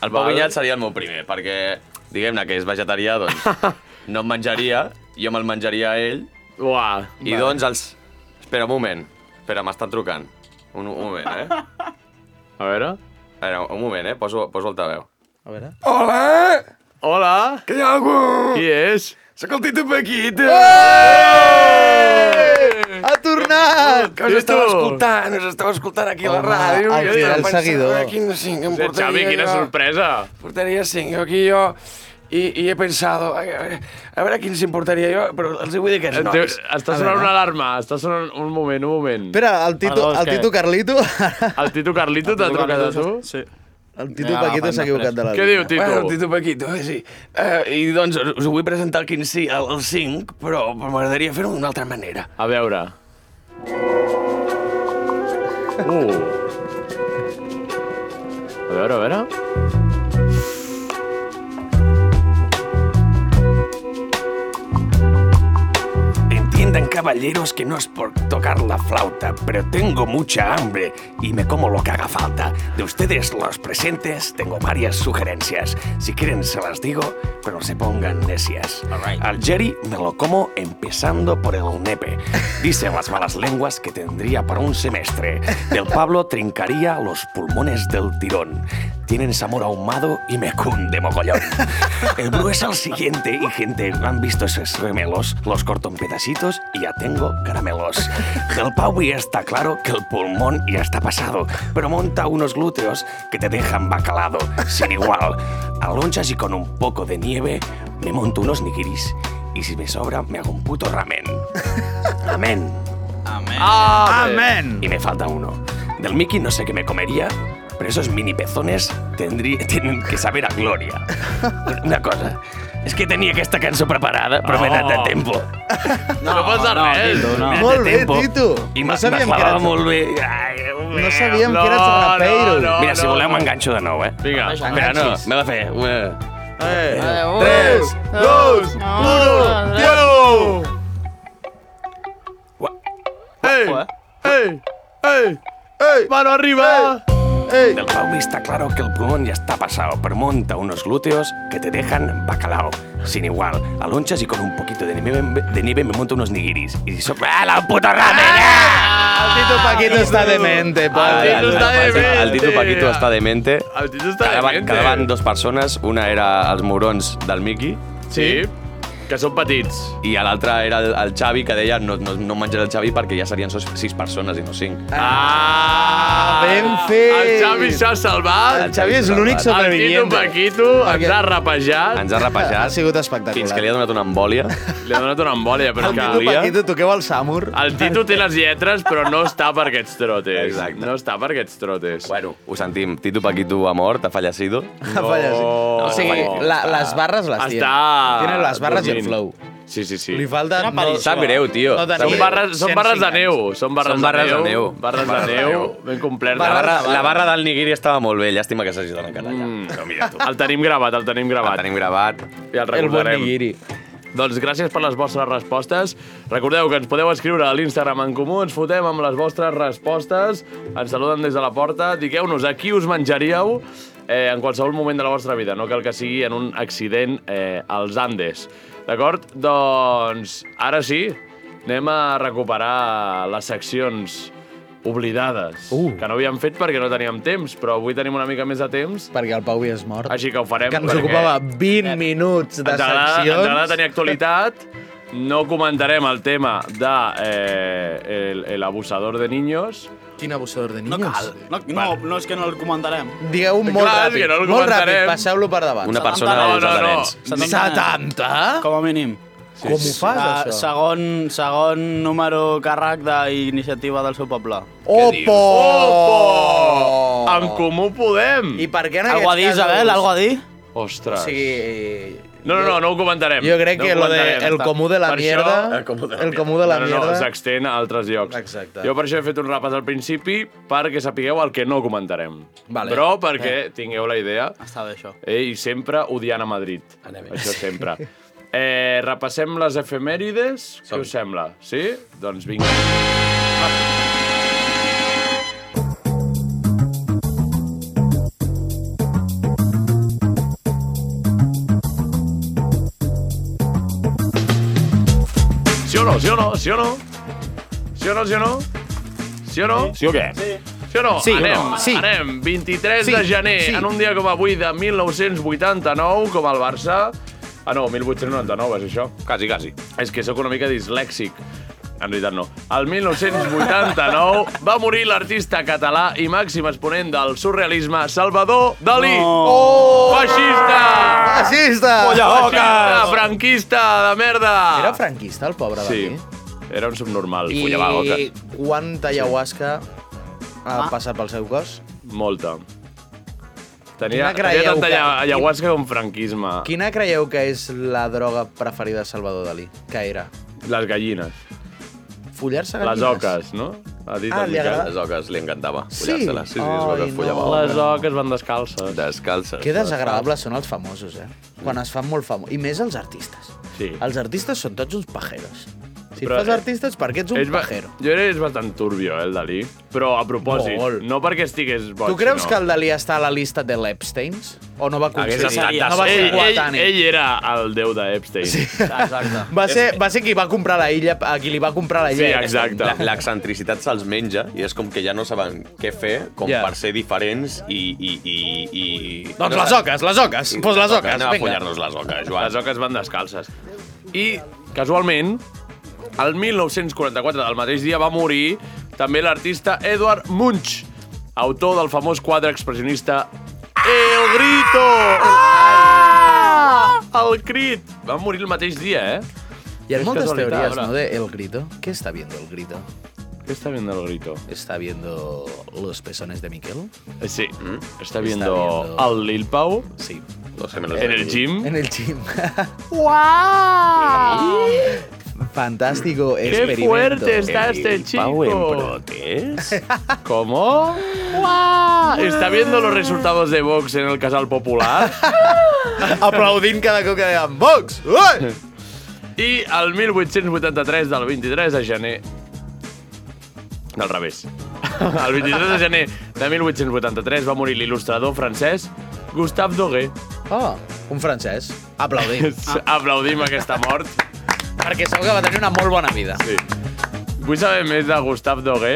Speaker 6: El Pau
Speaker 2: Val.
Speaker 6: Vinyals seria el meu primer, perquè diguem-ne que és vegetarià, doncs no em menjaria, jo me'l menjaria a ell,
Speaker 2: Uà.
Speaker 6: I doncs els... Espera un moment. Espera, m'estan trucant. Un, un moment, eh? A
Speaker 2: A veure.
Speaker 6: veure, un moment, eh? Poso, poso altaveu.
Speaker 3: A veure.
Speaker 6: Hola!
Speaker 2: Hola,
Speaker 6: Que hi ha algú?
Speaker 2: qui és?
Speaker 6: Sóc el Tito Paquito! Eh!
Speaker 3: Ha tornat!
Speaker 6: Que us
Speaker 2: Tito!
Speaker 6: estava escoltant, us estava escoltant aquí a la
Speaker 3: Home,
Speaker 6: ràdio.
Speaker 3: el
Speaker 6: jo
Speaker 3: fidel
Speaker 6: pensava,
Speaker 3: seguidor.
Speaker 6: Quin cinc em
Speaker 2: Sí,
Speaker 6: portaria
Speaker 2: Xavi, quina
Speaker 6: jo.
Speaker 2: sorpresa.
Speaker 6: Portaria cinc, jo aquí jo... I, i he pensado, a veure, a veure quins em portaria jo, però els hi vull dir que
Speaker 2: Eh,
Speaker 6: no.
Speaker 2: Té, està sonant una alarma, està sonant un moment, un moment.
Speaker 3: Espera, el Tito,
Speaker 7: Perdó, és
Speaker 3: el
Speaker 7: que-
Speaker 3: Tito Carlito...
Speaker 2: El Tito Carlito t'ha trucat a tu?
Speaker 7: Sí.
Speaker 3: El Tito
Speaker 7: Ja,
Speaker 3: Paquito
Speaker 7: agafem
Speaker 3: s'ha equivocat de la
Speaker 2: Què diu, Tito?
Speaker 6: Bueno, Tito Paquito, eh, sí. Uh, I doncs us us ho vull presentar el 15, el, el 5, però m'agradaria fer-ho d'una altra manera.
Speaker 2: A veure. Uh. A veure, a veure.
Speaker 8: Entiendan, caballeros, que no es por tocar la flauta, pero tengo mucha hambre y me como lo que haga falta. De ustedes, los presentes, tengo varias sugerencias. Si quieren, se las digo, pero no se pongan necias. Al Jerry me lo como empezando por el nepe. Dicen las malas lenguas que tendría para un semestre. Del Pablo trincaría los pulmones del tirón. tienen sabor ahumado y me cunde mogollón. El Bru es el siguiente y gente, ¿han visto esos remelos? Los corto en pedacitos y ya tengo caramelos. El Paui está claro que el pulmón ya está pasado, pero monta unos glúteos que te dejan bacalado, sin igual. Alonchas y con un poco de nieve me monto unos nigiris y si me sobra me hago un puto ramen. Amén.
Speaker 2: Ah,
Speaker 3: Amén.
Speaker 8: Y me falta uno. Del Mickey no sé qué me comería, pero esos mini pezones tendrí- tienen que saber a gloria. Una cosa, es que tenía que esta cançó preparada, però m'he anat de tempo.
Speaker 2: No, no passa
Speaker 7: no,
Speaker 2: res.
Speaker 7: Tito, no.
Speaker 8: M'he anat
Speaker 3: Molt
Speaker 8: de
Speaker 3: bé,
Speaker 8: tempo.
Speaker 3: Tito.
Speaker 8: I
Speaker 3: No
Speaker 8: me-
Speaker 3: sabíem
Speaker 8: me
Speaker 3: que
Speaker 8: clavava
Speaker 3: eres-
Speaker 8: molt bé. Ai,
Speaker 3: No sabíem
Speaker 2: No,
Speaker 3: que eres rapeiro.
Speaker 2: no, no.
Speaker 8: Mira, si voleu m'enganxo de nou, eh?
Speaker 2: Vinga,
Speaker 8: Espera, no,
Speaker 3: enganxis.
Speaker 8: m'he de fer una...
Speaker 3: Tres, dos, uno,
Speaker 2: Diego!
Speaker 8: Ua-
Speaker 2: Ei,
Speaker 7: Guapo, eh?
Speaker 2: ei, ei, ei, mano arriba!
Speaker 8: Del Pau está claro que el pulmón ya está pasado, pero monta unos glúteos que te dejan bacalao. Sin igual, alonchas y con un poquito de nieve, de nieve me monto unos nigiris. Y sopla ¡Ah, la puta ramen!
Speaker 3: El Tito Paquito està demente,
Speaker 2: Ah,
Speaker 3: pal.
Speaker 2: ja. Tito està demente.
Speaker 6: El Tito Paquito està demente.
Speaker 2: El Tito està
Speaker 6: Quedaven,
Speaker 2: demente.
Speaker 6: quedaven dues persones, una era els morons del Miqui
Speaker 2: Sí, que són petits.
Speaker 6: i l'altra era el, el Xavi, que deia no, no, no menjaré el Xavi perquè ja serien sos- sis persones i no cinc.
Speaker 2: Ah,
Speaker 3: ben fet.
Speaker 2: El Xavi s'ha salvat.
Speaker 3: El Xavi és l'únic
Speaker 2: El Tito
Speaker 3: sobrevivient.
Speaker 2: Paquito ens ha rapejat.
Speaker 6: Ens ha
Speaker 3: Ha
Speaker 6: rapejat
Speaker 3: sigut espectacular.
Speaker 6: fins que li ha donat una embòlia.
Speaker 2: Li ha donat una embòlia, però
Speaker 3: El
Speaker 2: és que...
Speaker 3: Tito Paquito, toqueu el Samur.
Speaker 2: El Tito té les lletres, però no està per aquests trotes.
Speaker 6: Exacte.
Speaker 2: No està per aquests trotes.
Speaker 6: Bueno, ho sentim. Tito Paquito ha mort, ha fallecido.
Speaker 3: Ha fallat, sí.
Speaker 2: No,
Speaker 3: o sigui,
Speaker 2: no.
Speaker 3: la, les barres les tiene.
Speaker 2: Oh, Està
Speaker 3: Tiene les barres i el
Speaker 2: dormint.
Speaker 3: flow.
Speaker 2: Sí, sí, sí.
Speaker 3: Li falta...
Speaker 7: Una
Speaker 3: No,
Speaker 7: pallissa.
Speaker 6: Sap greu, tio.
Speaker 3: No
Speaker 6: Sap
Speaker 3: tenia-
Speaker 2: Són
Speaker 6: greu.
Speaker 2: barres, són
Speaker 3: 105
Speaker 2: barres de
Speaker 3: anys.
Speaker 2: neu. Són barres,
Speaker 6: Són barres
Speaker 2: de, neu,
Speaker 6: de neu.
Speaker 2: Barres de neu. Ben complertes.
Speaker 6: La barra, la barra del nigiri estava molt bé, llàstima que s'hagi donat canalla.
Speaker 2: Mm.
Speaker 6: Però mira tu,
Speaker 2: El tenim gravat, el tenim
Speaker 6: el
Speaker 2: gravat.
Speaker 6: tenim gravat.
Speaker 2: Ja el
Speaker 3: El bon
Speaker 2: recordarem.
Speaker 3: nigiri.
Speaker 2: doncs gràcies per les vostres respostes. Recordeu que ens podeu escriure a l'Instagram en comú, ens fotem amb les vostres respostes, ens saluden des de la porta, digueu-nos a qui us menjaríeu eh, en qualsevol moment de la vostra vida, no cal que sigui en un accident eh, als Andes. D'acord? Doncs ara sí, anem a recuperar les seccions oblidades, uh. que no havíem fet perquè no teníam temps, però avui tenim una mica més de temps,
Speaker 3: Perquè el Pau ja és mort.
Speaker 2: així que ho farem.
Speaker 3: que ens
Speaker 2: perquè-
Speaker 3: ocupava 20 minuts de
Speaker 2: ens agrada, ens agrada
Speaker 3: seccions.
Speaker 2: tenir actualitat. No comentarem el tema de eh, el, el abusador de niños.
Speaker 3: Quin abusador de
Speaker 7: No
Speaker 3: niños.
Speaker 7: cal. No, no, no és que no el comentarem.
Speaker 3: Digueu un molt
Speaker 2: Clar, és
Speaker 3: ràpid.
Speaker 2: que no el
Speaker 3: molt
Speaker 2: comentarem.
Speaker 3: ràpid, passeu-lo per davant.
Speaker 6: Una persona
Speaker 7: no,
Speaker 6: dels
Speaker 2: no, no.
Speaker 6: Arenys.
Speaker 3: 70? Com,
Speaker 7: Com a mínim.
Speaker 3: com ho fas,
Speaker 7: Ah,
Speaker 3: això?
Speaker 7: segon, segon número càrrec d'iniciativa del seu poble.
Speaker 3: Opo!
Speaker 2: Opo! En comú podem!
Speaker 3: I per què en
Speaker 7: Algo a dir,
Speaker 3: aquests
Speaker 7: Isabel? Algo a dir?
Speaker 3: O
Speaker 2: doncs- Ostres.
Speaker 3: sigui...
Speaker 2: No, no, no, no ho comentarem.
Speaker 3: Jo crec
Speaker 2: No
Speaker 3: que
Speaker 2: ho
Speaker 3: lo de
Speaker 2: comentarem.
Speaker 3: el comú de la
Speaker 2: Per això-
Speaker 3: mierda... El comú de la
Speaker 2: no, no, no,
Speaker 3: mierda...
Speaker 2: s'extén a altres llocs.
Speaker 3: Exacte.
Speaker 2: Jo per això he fet un repàs al principi perquè sapigueu el que no comentarem.
Speaker 3: Vale.
Speaker 2: Però perquè tingueu la idea
Speaker 7: Està bé, això.
Speaker 2: eh, i sempre odiant a Madrid. Anem. Això sempre. Eh, repassem les efemèrides. Què us sembla? Sí? Doncs vinga. Sí o no? Sí o no? Sí o no? Sí o no? Sí o no? Sí o no? Sí o què? Sí. Sí o no?
Speaker 3: Sí o
Speaker 2: anem,
Speaker 3: no? Sí.
Speaker 2: anem. 23
Speaker 3: Sí,
Speaker 2: de gener,
Speaker 3: sí.
Speaker 2: en un dia com avui de 1989, com el Barça... Ah, no, 1899, és això.
Speaker 6: Quasi, quasi.
Speaker 2: És que sóc una mica dislèxic. En realitat no. El 1989 va morir l'artista català i màxim exponent del surrealisme Salvador Dalí. Oh! Feixista!
Speaker 3: Fascista!
Speaker 2: Feixista, franquista de merda!
Speaker 3: Era franquista, el pobre
Speaker 2: Sí,
Speaker 3: Dalí?
Speaker 2: era un subnormal.
Speaker 3: I
Speaker 2: I...
Speaker 3: quanta ayahuasca ha passat pel seu cos?
Speaker 2: Molta. Tenia,
Speaker 3: Quina
Speaker 2: tenia
Speaker 3: creieu
Speaker 2: tanta
Speaker 3: que-
Speaker 2: aya- ayahuasca com franquisme.
Speaker 3: Quina creieu que és la droga preferida de Salvador Dalí? Que era?
Speaker 2: Les gallines.
Speaker 3: Follar-se
Speaker 2: Les
Speaker 3: gallines?
Speaker 2: oques, no? Ha dit
Speaker 3: Ah,
Speaker 2: el
Speaker 3: li
Speaker 2: Miquel.
Speaker 3: agrada.
Speaker 6: Les oques li encantava
Speaker 3: Sí?
Speaker 6: follar-se-les. Sí, sí, es
Speaker 3: Ai,
Speaker 6: veu que
Speaker 3: no.
Speaker 6: follava.
Speaker 2: Les oques van descalces.
Speaker 6: Descalces.
Speaker 3: Que desagradables són els famosos, eh? Quan es fan molt famosos. I més els artistes.
Speaker 2: Sí.
Speaker 3: Els artistes són tots uns pajeros. Si
Speaker 2: Però- eh,
Speaker 3: fas artista és perquè ets un
Speaker 2: És ba-
Speaker 3: pajero.
Speaker 2: Jo crec que és bastant turbio, eh, el Dalí. Però a propòsit,
Speaker 3: Molt.
Speaker 2: no perquè estigués boig,
Speaker 3: Tu creus
Speaker 2: sinó-
Speaker 3: que el Dalí està a la lista de l'Epsteins? O no va aconseguir?
Speaker 6: Hagués estat
Speaker 3: no va
Speaker 6: de
Speaker 3: ser
Speaker 2: ell, ell,
Speaker 3: coetani.
Speaker 2: ell era el déu d'Epstein. Sí.
Speaker 7: Exacte.
Speaker 3: Va ser, va ser qui va comprar la illa, a qui li va comprar la
Speaker 2: Sí,
Speaker 3: illa.
Speaker 2: exacte.
Speaker 6: La- L'excentricitat se'ls menja i és com que ja no saben què fer com
Speaker 3: Ja.
Speaker 6: per ser diferents i... i, i, i...
Speaker 3: Doncs les oques, les oques. Pues les oques,
Speaker 6: Anem a
Speaker 3: vinga.
Speaker 6: follar-nos les oques, Joan.
Speaker 2: Les oques van descalces. I, casualment, el 1944 del mateix dia va morir també l'artista Edward Munch, autor del famós quadre expressionista El Grito! Ah! El crit! Va morir el mateix dia, eh?
Speaker 3: Hi ha
Speaker 2: És
Speaker 3: moltes
Speaker 2: casualitat,
Speaker 3: teories,
Speaker 2: ara.
Speaker 3: ¿no? De El Grito. ¿Qué está viendo El Grito?
Speaker 2: Què està viendo El Grito?
Speaker 3: ¿Está viendo los pezones de Miquel?
Speaker 2: Eh, Sí, està
Speaker 3: Està
Speaker 2: viendo
Speaker 3: viendo-
Speaker 2: el Lil Pau
Speaker 3: Sí.
Speaker 6: No sé, me lo-
Speaker 2: en el gym.
Speaker 3: En el gym. ¡Wow! Fantástico
Speaker 2: ¡Qué
Speaker 3: experimento.
Speaker 2: fuerte está este
Speaker 6: Pau en
Speaker 2: chico!
Speaker 6: brotes.
Speaker 2: ¿Cómo? ¿Está viendo los resultados de Vox en el Casal Popular?
Speaker 3: Aplaudint cada cop que deien Vox! Ui!
Speaker 2: I el 1883 del 23 de gener... Del revés. El 23 de gener de 1883 va morir l'il·lustrador francès Gustave Doré.
Speaker 3: Oh, un francès. Aplaudint.
Speaker 6: Ah.
Speaker 2: Aplaudim aquesta mort.
Speaker 3: Perquè segur que va tenir una molt bona vida.
Speaker 2: Sí. Vull saber més de Gustave Doré,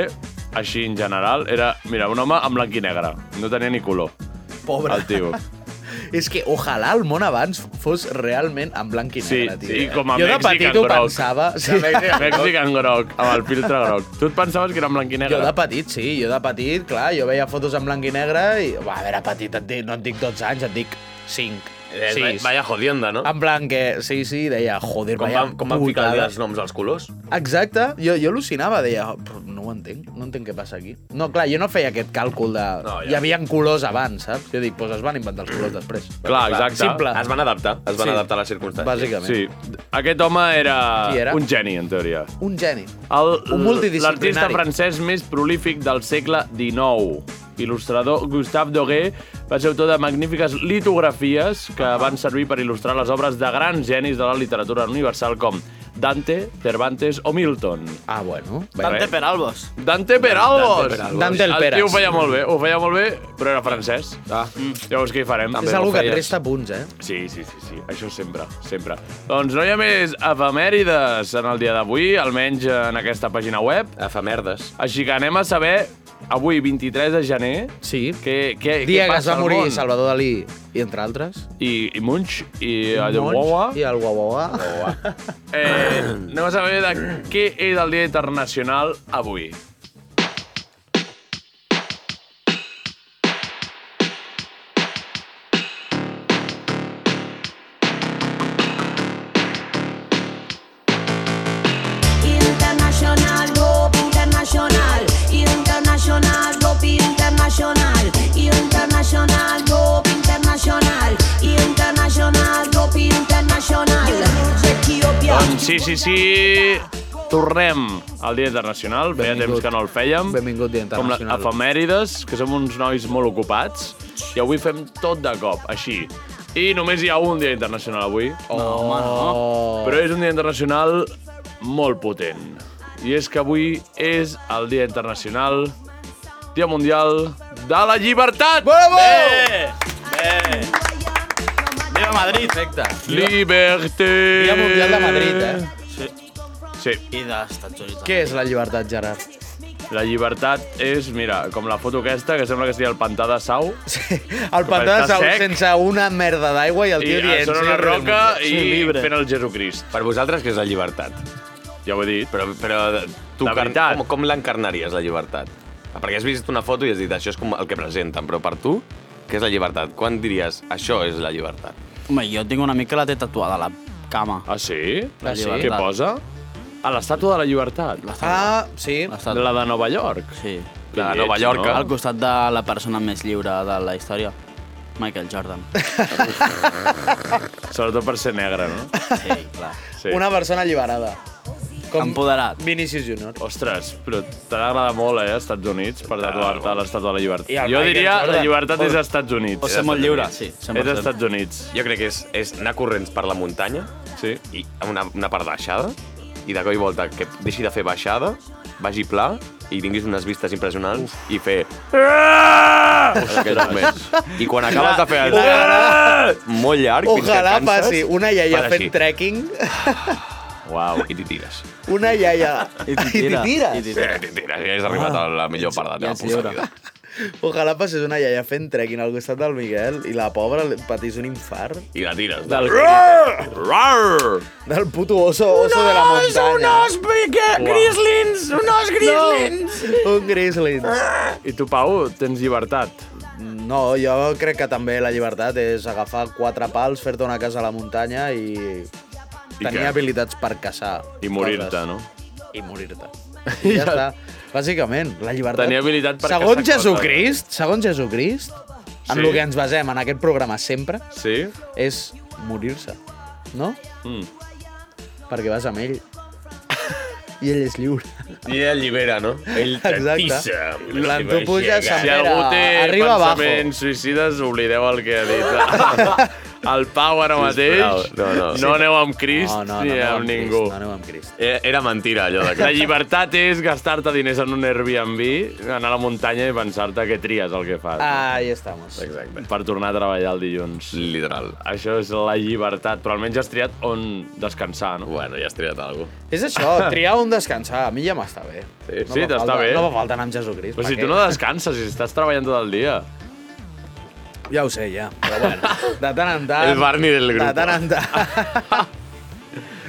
Speaker 2: així en general. Era, mira, un home en blanc i negre. No tenia ni color,
Speaker 3: Pobre.
Speaker 2: el tio.
Speaker 3: És que ojalà el món abans fos realment en blanc i
Speaker 2: Sí,
Speaker 3: negre, tio.
Speaker 2: sí,
Speaker 3: eh?
Speaker 2: com a
Speaker 3: jo
Speaker 2: Mexican
Speaker 3: de petit ho
Speaker 2: Rock.
Speaker 3: pensava. Sí.
Speaker 2: Mexican groc, amb el filtre groc. Tu et pensaves que era en blanc i negre?
Speaker 3: Jo de petit, sí, jo de petit, clar, jo veia fotos en blanc i negre i, va, a veure, petit, et dic, no et dic 12 anys, et dic 5,
Speaker 6: Eh,
Speaker 3: 6.
Speaker 6: Vaya jodienda, no?
Speaker 3: En plan que, sí, sí, deia, joder,
Speaker 6: Com
Speaker 3: vaya
Speaker 6: van, com van ficar
Speaker 3: putada.
Speaker 6: els noms als colors?
Speaker 3: Exacte, jo, jo al·lucinava, deia, "Oh, però no ho entenc, no entenc què passa aquí. No, clar, jo no feia aquest càlcul de... No,
Speaker 6: No, ja.
Speaker 3: ja. Hi havia colors abans, saps? Jo dic, doncs es van inventar els colors després.
Speaker 2: Clar, exacte.
Speaker 3: Simple.
Speaker 6: Es van adaptar, es van
Speaker 3: Sí.
Speaker 6: adaptar a les circumstàncies.
Speaker 3: Bàsicament.
Speaker 2: Sí. Aquest home era,
Speaker 3: eh? Qui era?
Speaker 2: un geni, en teoria.
Speaker 3: Un geni.
Speaker 2: El,
Speaker 3: Un multidisciplinari.
Speaker 2: L'artista francès més prolífic del segle XIX. Il·lustrador Gustave Doré va ser autor de magnífiques litografies que van servir per il·lustrar les obres de grans genis de la literatura universal com Dante, Cervantes o Milton.
Speaker 3: Ah, bueno.
Speaker 7: Dante Peralbos.
Speaker 2: Dante Peralbos!
Speaker 3: Dante el
Speaker 2: El tio ho
Speaker 3: Peras.
Speaker 2: feia molt bé, ho feia molt bé, però era francès. Mm.
Speaker 6: Ah.
Speaker 2: Llavors què hi farem?
Speaker 3: És algo que et resta punts, eh?
Speaker 2: Sí, sí, sí, sí, això sempre, sempre. Doncs no hi ha més efemèrides en el dia d'avui, almenys en aquesta pàgina web.
Speaker 6: Efemerdes.
Speaker 2: Així que anem a saber, avui, 23 de gener,
Speaker 3: Sí.
Speaker 2: què, què,
Speaker 3: Dia
Speaker 2: què
Speaker 3: que es
Speaker 2: passa
Speaker 3: va
Speaker 2: al
Speaker 3: morir
Speaker 2: món.
Speaker 3: Salvador Dalí, i entre altres.
Speaker 2: I, i Munch, i Adewowa.
Speaker 3: Monch I el Guauauà.
Speaker 2: Eh, anem a saber de què és el Dia Internacional avui.
Speaker 9: Internacional, Bob Internacional, Internacional, Bob Internacional, Internacional, Bob Internacional, Internacional, Bob Internacional. Etiòpia.
Speaker 2: Doncs sí, sí, sí, tornem al Dia Internacional. Feia temps
Speaker 3: Benvingut.
Speaker 2: que no el fèiem.
Speaker 3: Benvingut Dia
Speaker 2: Com
Speaker 3: Internacional.
Speaker 2: les efemèrides, que som uns nois molt ocupats, i avui fem tot de cop, així. I només hi ha un Dia Internacional avui, Oh.
Speaker 7: No, home, no.
Speaker 2: però és un Dia Internacional molt potent. I és que avui és el Dia Internacional, Dia Mundial de la Llibertat!
Speaker 3: Bravo!
Speaker 2: Bé!
Speaker 7: Viva Madrid!
Speaker 3: Perfecte.
Speaker 2: Liberté!
Speaker 3: Dia Mundial de Madrid, eh?
Speaker 2: Sí.
Speaker 7: I d'Estats Units.
Speaker 3: Què és la llibertat, Gerard?
Speaker 2: La llibertat és, mira, com la foto aquesta, que sembla que sigui el pantà de Sau,
Speaker 3: Sí, el pantà de
Speaker 2: està
Speaker 3: Saúl
Speaker 2: sec.
Speaker 3: sense una merda d'aigua i el
Speaker 2: i
Speaker 3: tio dient...
Speaker 2: sobre una
Speaker 3: "Sí,
Speaker 2: roca i
Speaker 3: sí, libre".
Speaker 2: fent el Jesucrist.
Speaker 6: Per vosaltres, què és la llibertat?
Speaker 2: Ja ho he dit.
Speaker 6: Però, però tu
Speaker 2: La
Speaker 6: car-
Speaker 2: veritat.
Speaker 6: com, com l'encarnaries, la llibertat? Ah, Perquè has vist una foto i has dit això és com el que presenten, però per tu, què és la llibertat? Quan diries això és la llibertat?
Speaker 7: Home, jo tinc una mica la té tatuada a la cama.
Speaker 2: Ah, sí?
Speaker 7: La sí?
Speaker 2: Què posa? A l'estàtua de la llibertat.
Speaker 3: Ah, sí.
Speaker 7: L'estat...
Speaker 2: La de Nova York.
Speaker 7: Sí.
Speaker 2: La
Speaker 6: de Nova York.
Speaker 7: Al costat de la persona més lliure de la història. Michael Jordan.
Speaker 2: Sobretot per ser negre, no?
Speaker 7: Sí, clar.
Speaker 2: Sí.
Speaker 3: Una persona alliberada. Com
Speaker 7: Empoderat.
Speaker 3: Vinicius Junior.
Speaker 2: Ostres, però t'ha d'agradar molt, eh, als Estats Units, per tatuar-te a l'estàtua de la llibertat.
Speaker 3: I el
Speaker 2: Jo
Speaker 3: Michael
Speaker 2: diria la
Speaker 3: Jordan.
Speaker 2: llibertat és
Speaker 3: O-
Speaker 2: als Estats Units.
Speaker 7: O ser molt lliure, sí.
Speaker 2: És
Speaker 7: 100%.
Speaker 2: als Estats Units,
Speaker 6: Jo crec que és, és anar corrents per la muntanya
Speaker 2: sí.
Speaker 6: i amb una, una part d'aixada i de coi volta que deixi de fer baixada, vagi pla i tinguis unes vistes impressionants Uf. i fer... Ostres. I quan acabes de fer el... Molt
Speaker 3: Ojalà
Speaker 6: llarg, fins que canses,
Speaker 3: passi una iaia
Speaker 6: fas
Speaker 3: fent
Speaker 6: així.
Speaker 3: trekking,
Speaker 6: Uau, i t'hi tires.
Speaker 3: una iaia...
Speaker 7: I t'hi tira, i t'hi
Speaker 3: tires.
Speaker 7: tira.
Speaker 6: Eh, t'hi tires, ja has arribat a la millor part de la
Speaker 7: ja ets
Speaker 6: teva puta
Speaker 7: lliure.
Speaker 6: vida.
Speaker 3: Ojalà passés una iaia fent trekking al costat del Miguel i la pobra li patís un infart
Speaker 6: I la tires. Del... Rar! Rar!
Speaker 3: del puto oso, oso de la muntanya. Un os, un
Speaker 8: Grizzlins! Un os grizzlins!
Speaker 3: Un grizzly.
Speaker 2: I tu, Pau, tens llibertat.
Speaker 3: No, jo crec que també la llibertat és agafar quatre pals, fer-te una casa a la muntanya i, tenir
Speaker 6: què?
Speaker 3: habilitats per caçar.
Speaker 2: I morir-te, no?
Speaker 3: I morir-te. I ja està. Bàsicament, la llibertat...
Speaker 2: Tenir habilitat per
Speaker 3: segons
Speaker 2: caçar eh?
Speaker 3: Jesucrist, segons Jesucrist,
Speaker 2: Sí.
Speaker 3: en el que ens basem en aquest programa sempre,
Speaker 2: Sí?
Speaker 3: és morir-se, no?
Speaker 2: Mm.
Speaker 3: Perquè vas amb ell. I ell és lliure.
Speaker 6: I ell llibera, no? Ell
Speaker 3: Exacte.
Speaker 6: t'atissa.
Speaker 3: Plan, tu puges a-
Speaker 2: eh? Si
Speaker 3: Mira,
Speaker 2: algú té
Speaker 3: arriba abajo.
Speaker 2: pensaments suïcides, oblideu el que ha dit. El Pau ara
Speaker 6: Sisplau,
Speaker 2: mateix.
Speaker 6: no, no.
Speaker 2: no aneu amb Crist ni
Speaker 3: aneu
Speaker 2: amb ningú.
Speaker 3: Crist, no aneu amb Crist.
Speaker 6: Eh, Era mentira, allò de
Speaker 2: La
Speaker 6: que...
Speaker 2: llibertat és gastar-te diners en un Airbnb, anar a la muntanya i pensar-te que tries el que fas.
Speaker 3: Ahí estamos.
Speaker 6: Exacte.
Speaker 2: Per tornar a treballar el dilluns.
Speaker 6: Literal.
Speaker 2: Això és la llibertat, però almenys has triat on descansar, no?
Speaker 6: Bueno, ja has triat alguna cosa.
Speaker 3: És això, triar on descansar. A mi ja m'està bé.
Speaker 6: Sí,
Speaker 3: no
Speaker 2: sí,
Speaker 3: me
Speaker 2: t'està
Speaker 3: falta-
Speaker 2: bé.
Speaker 3: No me falta anar amb Jesucrist.
Speaker 2: Però
Speaker 3: per
Speaker 2: si tu
Speaker 3: què?
Speaker 2: no descanses, si estàs treballant tot el dia.
Speaker 3: Ja ho sé, ja. Però bueno, de tant en tant...
Speaker 6: El Barney del grup. Ah,
Speaker 3: De tant en tant...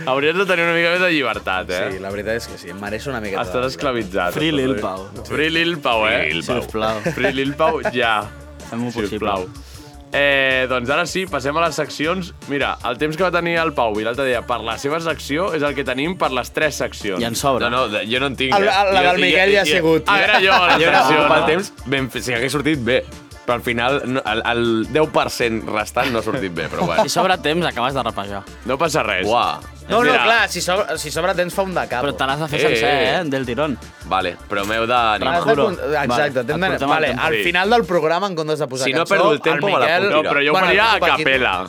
Speaker 2: Hauries de tenir una mica més de llibertat, eh?
Speaker 3: Sí, la veritat és que sí, em mereixo una
Speaker 6: Ah,
Speaker 3: miqueta.
Speaker 2: Estàs esclavitzat.
Speaker 7: Free Lil
Speaker 2: Sí.
Speaker 7: Pau.
Speaker 2: Free Lil Pau, eh?
Speaker 6: Free Lil Pau.
Speaker 7: Sisplau.
Speaker 2: Free Lil Pau, ja.
Speaker 7: Fem-ho
Speaker 2: Sisplau.
Speaker 7: possible.
Speaker 2: Eh, doncs ara sí, passem a les seccions. Mira, el temps que va tenir el Pau i l'altre dia per la seva secció és el que tenim per les tres seccions.
Speaker 7: I en
Speaker 6: No,
Speaker 7: sobre.
Speaker 6: no, de- jo no en tinc.
Speaker 3: El-
Speaker 6: eh?
Speaker 3: el- la
Speaker 6: Jo-
Speaker 3: del Miquel
Speaker 6: jo-
Speaker 3: ja ha
Speaker 6: jo-
Speaker 3: sigut.
Speaker 6: Ah, era jo, la
Speaker 2: Jo era
Speaker 6: sensació,
Speaker 2: jo,
Speaker 6: no?
Speaker 2: no?
Speaker 6: El temps, ben, fe- si hagués sortit bé. Però al final, no, el, el 10% restant no ha sortit bé, però
Speaker 7: Si
Speaker 6: bueno.
Speaker 7: sobra temps, acabes de repejar.
Speaker 2: No passa res.
Speaker 6: Uah.
Speaker 3: No, no,
Speaker 2: Mira.
Speaker 3: clar, si sobre, si sobre tens fa un de cap.
Speaker 7: Però te l'has de fer
Speaker 6: Eh,
Speaker 7: sencer,
Speaker 6: eh.
Speaker 7: eh? Del tirón.
Speaker 6: Vale, però m'heu d'animar.
Speaker 7: Rajo. juro.
Speaker 3: Exacte, vale,
Speaker 7: Vale, et
Speaker 3: vale,
Speaker 7: portem
Speaker 3: vale,
Speaker 7: al
Speaker 3: al
Speaker 2: temps.
Speaker 3: final del programa, en comptes de posar
Speaker 6: Si no
Speaker 3: cançó,
Speaker 6: perdo el tempo, me la
Speaker 3: Miquel...
Speaker 6: puc
Speaker 2: No, però jo ho
Speaker 3: Bueno,
Speaker 2: faria a
Speaker 3: Paquito-
Speaker 2: capella,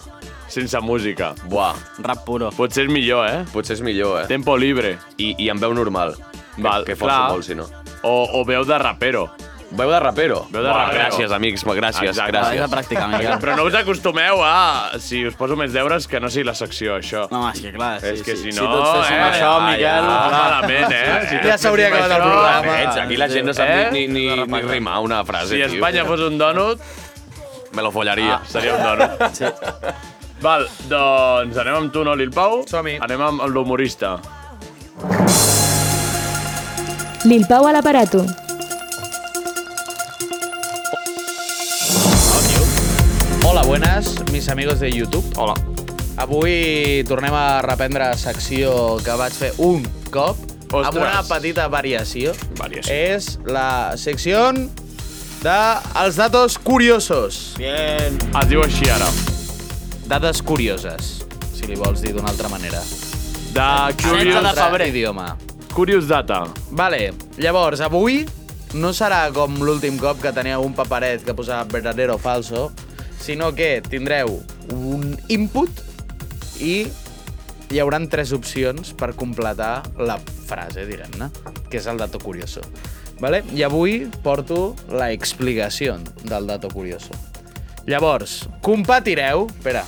Speaker 2: sense música.
Speaker 6: Buah,
Speaker 7: Rap puro.
Speaker 2: Potser és millor, eh?
Speaker 6: potser és millor, eh?
Speaker 2: Tempo libre.
Speaker 6: I, I amb veu normal.
Speaker 2: Val,
Speaker 6: que, que forço
Speaker 2: clar.
Speaker 6: molt, si no.
Speaker 2: O, o veu de rapero.
Speaker 6: Veu de rapero.
Speaker 2: Veu de
Speaker 6: Buah,
Speaker 2: rapero.
Speaker 6: Gràcies, amics, gràcies,
Speaker 2: Exacte.
Speaker 7: Gràcies.
Speaker 6: gràcies.
Speaker 7: Has de practicar, Miquel.
Speaker 2: Però no us acostumeu a... Si us poso més deures, que no sigui la secció, això.
Speaker 7: No, és que clar, sí,
Speaker 2: és que si
Speaker 7: sí.
Speaker 2: no...
Speaker 7: Si tots féssim
Speaker 2: eh,
Speaker 7: això,
Speaker 2: ja,
Speaker 7: Miquel...
Speaker 2: ja,
Speaker 7: clar.
Speaker 2: malament, eh? Si
Speaker 3: Ja s'hauria acabat el programa.
Speaker 6: Ets, aquí la gent no sap
Speaker 2: Eh?
Speaker 6: ni, ni, ni, ni rimar una frase,
Speaker 2: Si
Speaker 6: tio.
Speaker 2: Espanya fos un dònut,
Speaker 6: Me lo follaria.
Speaker 2: ah, seria un dònut.
Speaker 7: Sí.
Speaker 2: Val, doncs anem amb tu, no, Lil Pau?
Speaker 3: Som-hi.
Speaker 2: Anem amb l'humorista.
Speaker 5: Lil Pau a l'aparato.
Speaker 3: Hola, buenas, mis amigos de YouTube.
Speaker 2: Hola.
Speaker 3: Avui tornem a reprendre secció que vaig fer un cop
Speaker 2: Ostres.
Speaker 3: amb una petita variació.
Speaker 2: Variació.
Speaker 3: És la secció de els datos curiosos.
Speaker 7: Bien.
Speaker 2: Es diu així ara.
Speaker 3: Dades curioses, si li vols dir d'una altra manera.
Speaker 2: De
Speaker 7: Setze de
Speaker 2: Curious,
Speaker 7: fa- febrer.
Speaker 3: idioma.
Speaker 2: curious Data.
Speaker 3: Vale, llavors, avui no serà com l'últim cop que teníeu un paperet que posava verdadero o falso, sinó que tindreu un input i hi hauran tres opcions per completar la frase, diguem-ne, que és el dato curioso. Vale? I avui porto la explicació del dato curioso. Llavors, compatireu... Espera,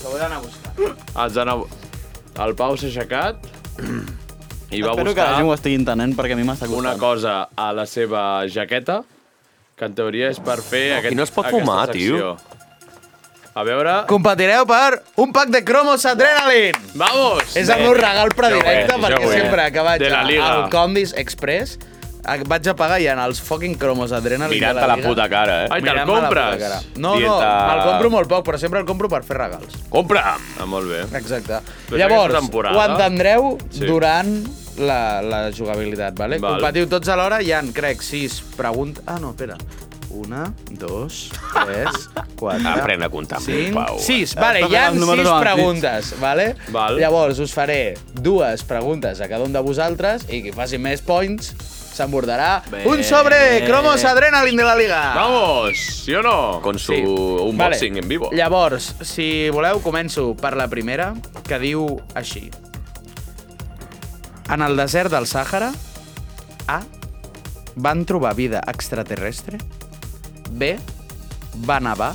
Speaker 3: que ho he d'anar a buscar.
Speaker 2: Els han... El Pau s'ha aixecat i va
Speaker 7: Espero que
Speaker 2: buscar
Speaker 7: la gent ho estigui entenent perquè a mi m'està costant.
Speaker 2: una cosa a la seva jaqueta, que en teoria és per fer aquest,
Speaker 6: i no es pot
Speaker 2: aquesta
Speaker 6: fumar,
Speaker 2: secció. A veure...
Speaker 3: Compatireu per un pack de cromos adrenaline!
Speaker 2: Vamos!
Speaker 3: És el meu regal predilecte,
Speaker 2: Jo ho he,
Speaker 3: perquè
Speaker 2: jo ho he.
Speaker 3: sempre que vaig
Speaker 2: De la Liga.
Speaker 3: al Condis Express eh, vaig a pagar i en els fucking cromos adrenaline
Speaker 6: Mirant-te
Speaker 3: de la,
Speaker 6: la
Speaker 3: Liga,
Speaker 6: puta cara, eh?
Speaker 2: Ai, te'l
Speaker 3: mirant-me la puta
Speaker 2: compres?
Speaker 3: cara. No, no,
Speaker 6: Dieta-
Speaker 3: me'l compro molt poc, però sempre el compro per fer regals.
Speaker 6: Compra'm!
Speaker 2: Ah, molt bé.
Speaker 3: Exacte.
Speaker 2: Però és aquesta
Speaker 3: Llavors,
Speaker 2: temporada.
Speaker 3: ho entendreu
Speaker 2: Sí.
Speaker 3: durant la, la jugabilitat, vale?
Speaker 2: Val.
Speaker 3: Competiu tots alhora, hi han, crec, sis preguntes... Ah, no, espera. Una, dos, tres, quatre...
Speaker 6: Aprèn a comptar amb
Speaker 3: Cinc,
Speaker 6: el Pau.
Speaker 3: sis, vale,
Speaker 7: Està
Speaker 3: hi ha
Speaker 7: fent els números
Speaker 3: sis
Speaker 7: amb els
Speaker 3: preguntes, vale?
Speaker 2: Val.
Speaker 3: Llavors us faré dues preguntes a cada un de vosaltres i qui faci més points s'embordarà
Speaker 7: Bé.
Speaker 3: un sobre Cromos Adrenaline de la Liga.
Speaker 2: Vamos! Sí o no?
Speaker 6: Con su
Speaker 3: Sí.
Speaker 6: unboxing en vivo.
Speaker 3: Llavors, si voleu, començo per la primera, que diu així. En el desert del Sàhara, A. Van trobar vida extraterrestre. B. Va nevar.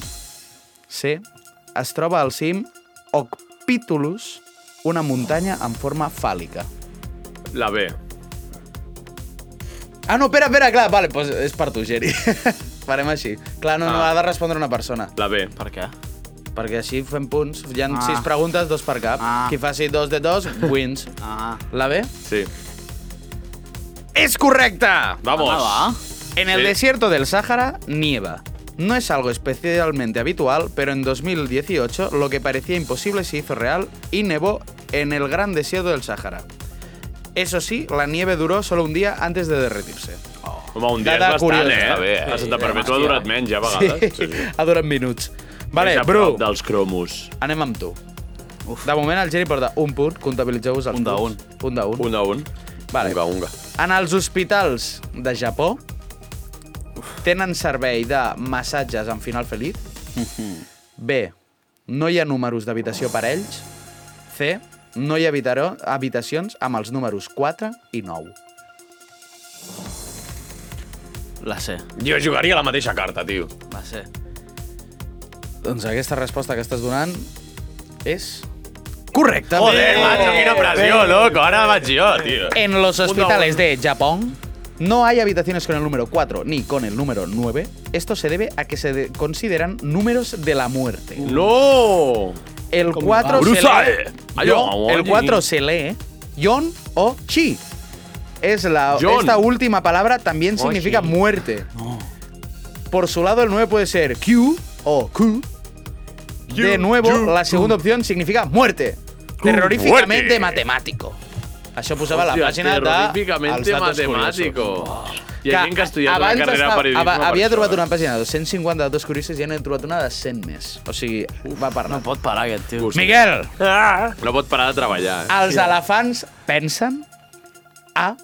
Speaker 3: C. Es troba al cim Ocpitulus, una muntanya en forma fàl·lica.
Speaker 2: La B.
Speaker 3: Ah, no, espera, espera, clar, vale, doncs és per tu, Geri. Farem així. Clar, no, no,
Speaker 2: Ah.
Speaker 3: ha de respondre una persona.
Speaker 2: La B.
Speaker 7: Per què?
Speaker 3: Perquè així fem punts. Hi ha
Speaker 7: Ah.
Speaker 3: ah. sis preguntes, dos per cap. Ah.
Speaker 7: Ah.
Speaker 3: Qui faci dos de dos, wins.
Speaker 7: Ah.
Speaker 3: La B?
Speaker 2: Sí.
Speaker 3: És correcta!
Speaker 2: Vamos.
Speaker 7: Ah,
Speaker 3: En el
Speaker 2: Sí.
Speaker 3: desierto del Sáhara nieva. No es algo especialmente habitual, pero en 2018 lo que parecía imposible se hizo real y nevó en el gran desierto del Sáhara. Eso sí, la nieve duró solo un día antes de derretirse.
Speaker 2: Home, un dia és
Speaker 3: Dada
Speaker 2: bastant,
Speaker 3: curiosa.
Speaker 2: eh? Està bé. A Santa Perpètua ha durat menys, ja, a vegades. Ah, Sí. sí.
Speaker 3: ha durat minuts. Vale,
Speaker 2: és a
Speaker 3: Bru,
Speaker 2: prop dels cromos.
Speaker 3: anem amb tu. De moment el Geri porta un punt, comptabilitzeu-vos els
Speaker 7: Un de
Speaker 3: punts. Un de un.
Speaker 2: Un a un.
Speaker 3: Vale.
Speaker 6: Unga, unga.
Speaker 3: En els hospitals de Japó tenen servei de massatges en final feliç. B. No hi ha números d'habitació per a ells. C. No hi ha habitaró, habitacions amb els números 4 i 9.
Speaker 7: la C,
Speaker 6: Jo jugaria la mateixa carta, tio.
Speaker 7: la C.
Speaker 3: Doncs aquesta resposta que estàs donant és correcta.
Speaker 6: Joder, macho, quina pressió, loco. Ara vaig jo, tio.
Speaker 3: En los
Speaker 6: Un
Speaker 3: hospitales de Japón no hay habitaciones con el número 4 ni con el número 9. Esto se debe a que se de- consideran números de la muerte.
Speaker 2: No!
Speaker 3: El 4 se
Speaker 2: ¡Brutal!
Speaker 3: lee.
Speaker 2: Ay,
Speaker 3: Yo-
Speaker 2: oh,
Speaker 3: el
Speaker 2: oye.
Speaker 3: 4 se lee Yon o Chi. Es la
Speaker 2: Yon.
Speaker 3: esta última palabra también significa muerte. Por su lado el 9 puede ser Q o Q. De nuevo, la segunda opción significa muerte. Terroríficamente
Speaker 6: Muerte.
Speaker 3: matemático. Això posava la
Speaker 2: Hòstia,
Speaker 3: pàgina de... els
Speaker 2: terroríficamente
Speaker 3: datos
Speaker 2: matemàtico.
Speaker 3: curiosos.
Speaker 2: oh. Hi ha gent que ha estudiat una
Speaker 3: abans
Speaker 2: carrera de
Speaker 3: estava-
Speaker 2: periodisme.
Speaker 3: ava-
Speaker 2: per
Speaker 3: Havia
Speaker 2: això,
Speaker 3: trobat
Speaker 2: eh?
Speaker 3: una pàgina de 250 datos curiosos i ja n'he trobat una de 100 més. O sigui, va per
Speaker 7: No
Speaker 3: anar.
Speaker 7: pot parar aquest tio.
Speaker 2: Gust.
Speaker 3: Miguel,
Speaker 2: No pot parar de treballar. Eh?
Speaker 3: Els elefants pensen A.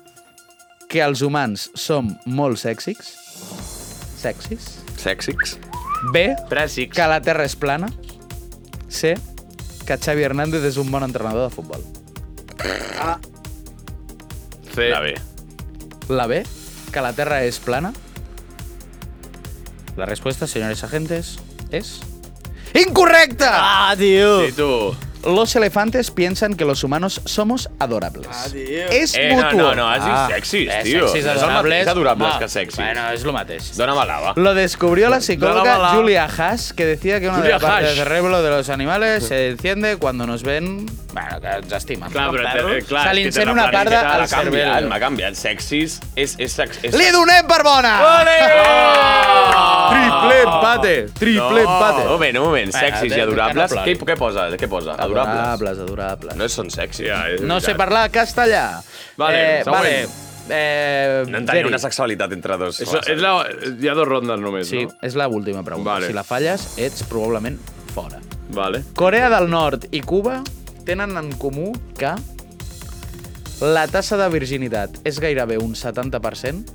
Speaker 3: Que els humans som molt sèxics. Sexis.
Speaker 6: Sèxics.
Speaker 3: B.
Speaker 2: Pràssics.
Speaker 3: Que la Terra és plana. C. Que Xavi Hernández és un bon entrenador de futbol.
Speaker 2: C. La B.
Speaker 3: La B. Que la Terra és plana. La resposta, senyores agentes, és... ¡Incorrecta!
Speaker 7: Ah, tio!
Speaker 2: I tu?
Speaker 3: Los elefantes piensan que los humanos somos adorables. es
Speaker 6: Eh, no,
Speaker 3: mutuo.
Speaker 6: no, no, has dit sexis,
Speaker 3: eh,
Speaker 6: tio.
Speaker 3: Sexis
Speaker 6: Són
Speaker 3: adorables.
Speaker 6: més adorables
Speaker 3: Ah,
Speaker 6: que sexis.
Speaker 3: Bueno, es lo mateix.
Speaker 6: Dóna'm la lava.
Speaker 3: Lo descubrió la psicóloga
Speaker 2: Dónamela.
Speaker 3: Julia Haas, que decía que una
Speaker 2: Julia
Speaker 3: de las partes
Speaker 2: Haas.
Speaker 3: del cerebro de los animales se enciende cuando nos ven... Bueno, que ens estimen.
Speaker 2: Clar, però... Te, eh, clar,
Speaker 3: Se li
Speaker 2: és que te
Speaker 3: encén una
Speaker 2: representa
Speaker 3: parda al
Speaker 6: M'ha
Speaker 2: la cambra.
Speaker 3: cervell.
Speaker 6: canviat, m'ha canviat. Sexis és... és, sex, és...
Speaker 3: Li donem per bona! Triple empate! Triple empate!
Speaker 6: Un moment, un moment. Sexis i
Speaker 3: Espera,
Speaker 6: adorables.
Speaker 3: que no
Speaker 6: Què,
Speaker 3: plori.
Speaker 6: què posa? Què posa? Adorables.
Speaker 3: Adorables, adorables.
Speaker 6: No són sexis.
Speaker 2: Ja, és
Speaker 3: No sé
Speaker 2: veritat.
Speaker 3: parlar castellà.
Speaker 2: Vale,
Speaker 3: eh,
Speaker 2: següent.
Speaker 3: vale. Eh,
Speaker 6: No entenia
Speaker 3: Geri.
Speaker 6: una sexualitat entre dos.
Speaker 2: És, la, és la, hi ha dos rondes només,
Speaker 3: Sí,
Speaker 2: no?
Speaker 3: és la última pregunta.
Speaker 2: Vale.
Speaker 3: Si la falles, ets probablement fora.
Speaker 2: Vale.
Speaker 3: Corea del Nord i Cuba tenen en comú que la tassa de virginitat és gairebé un 70%,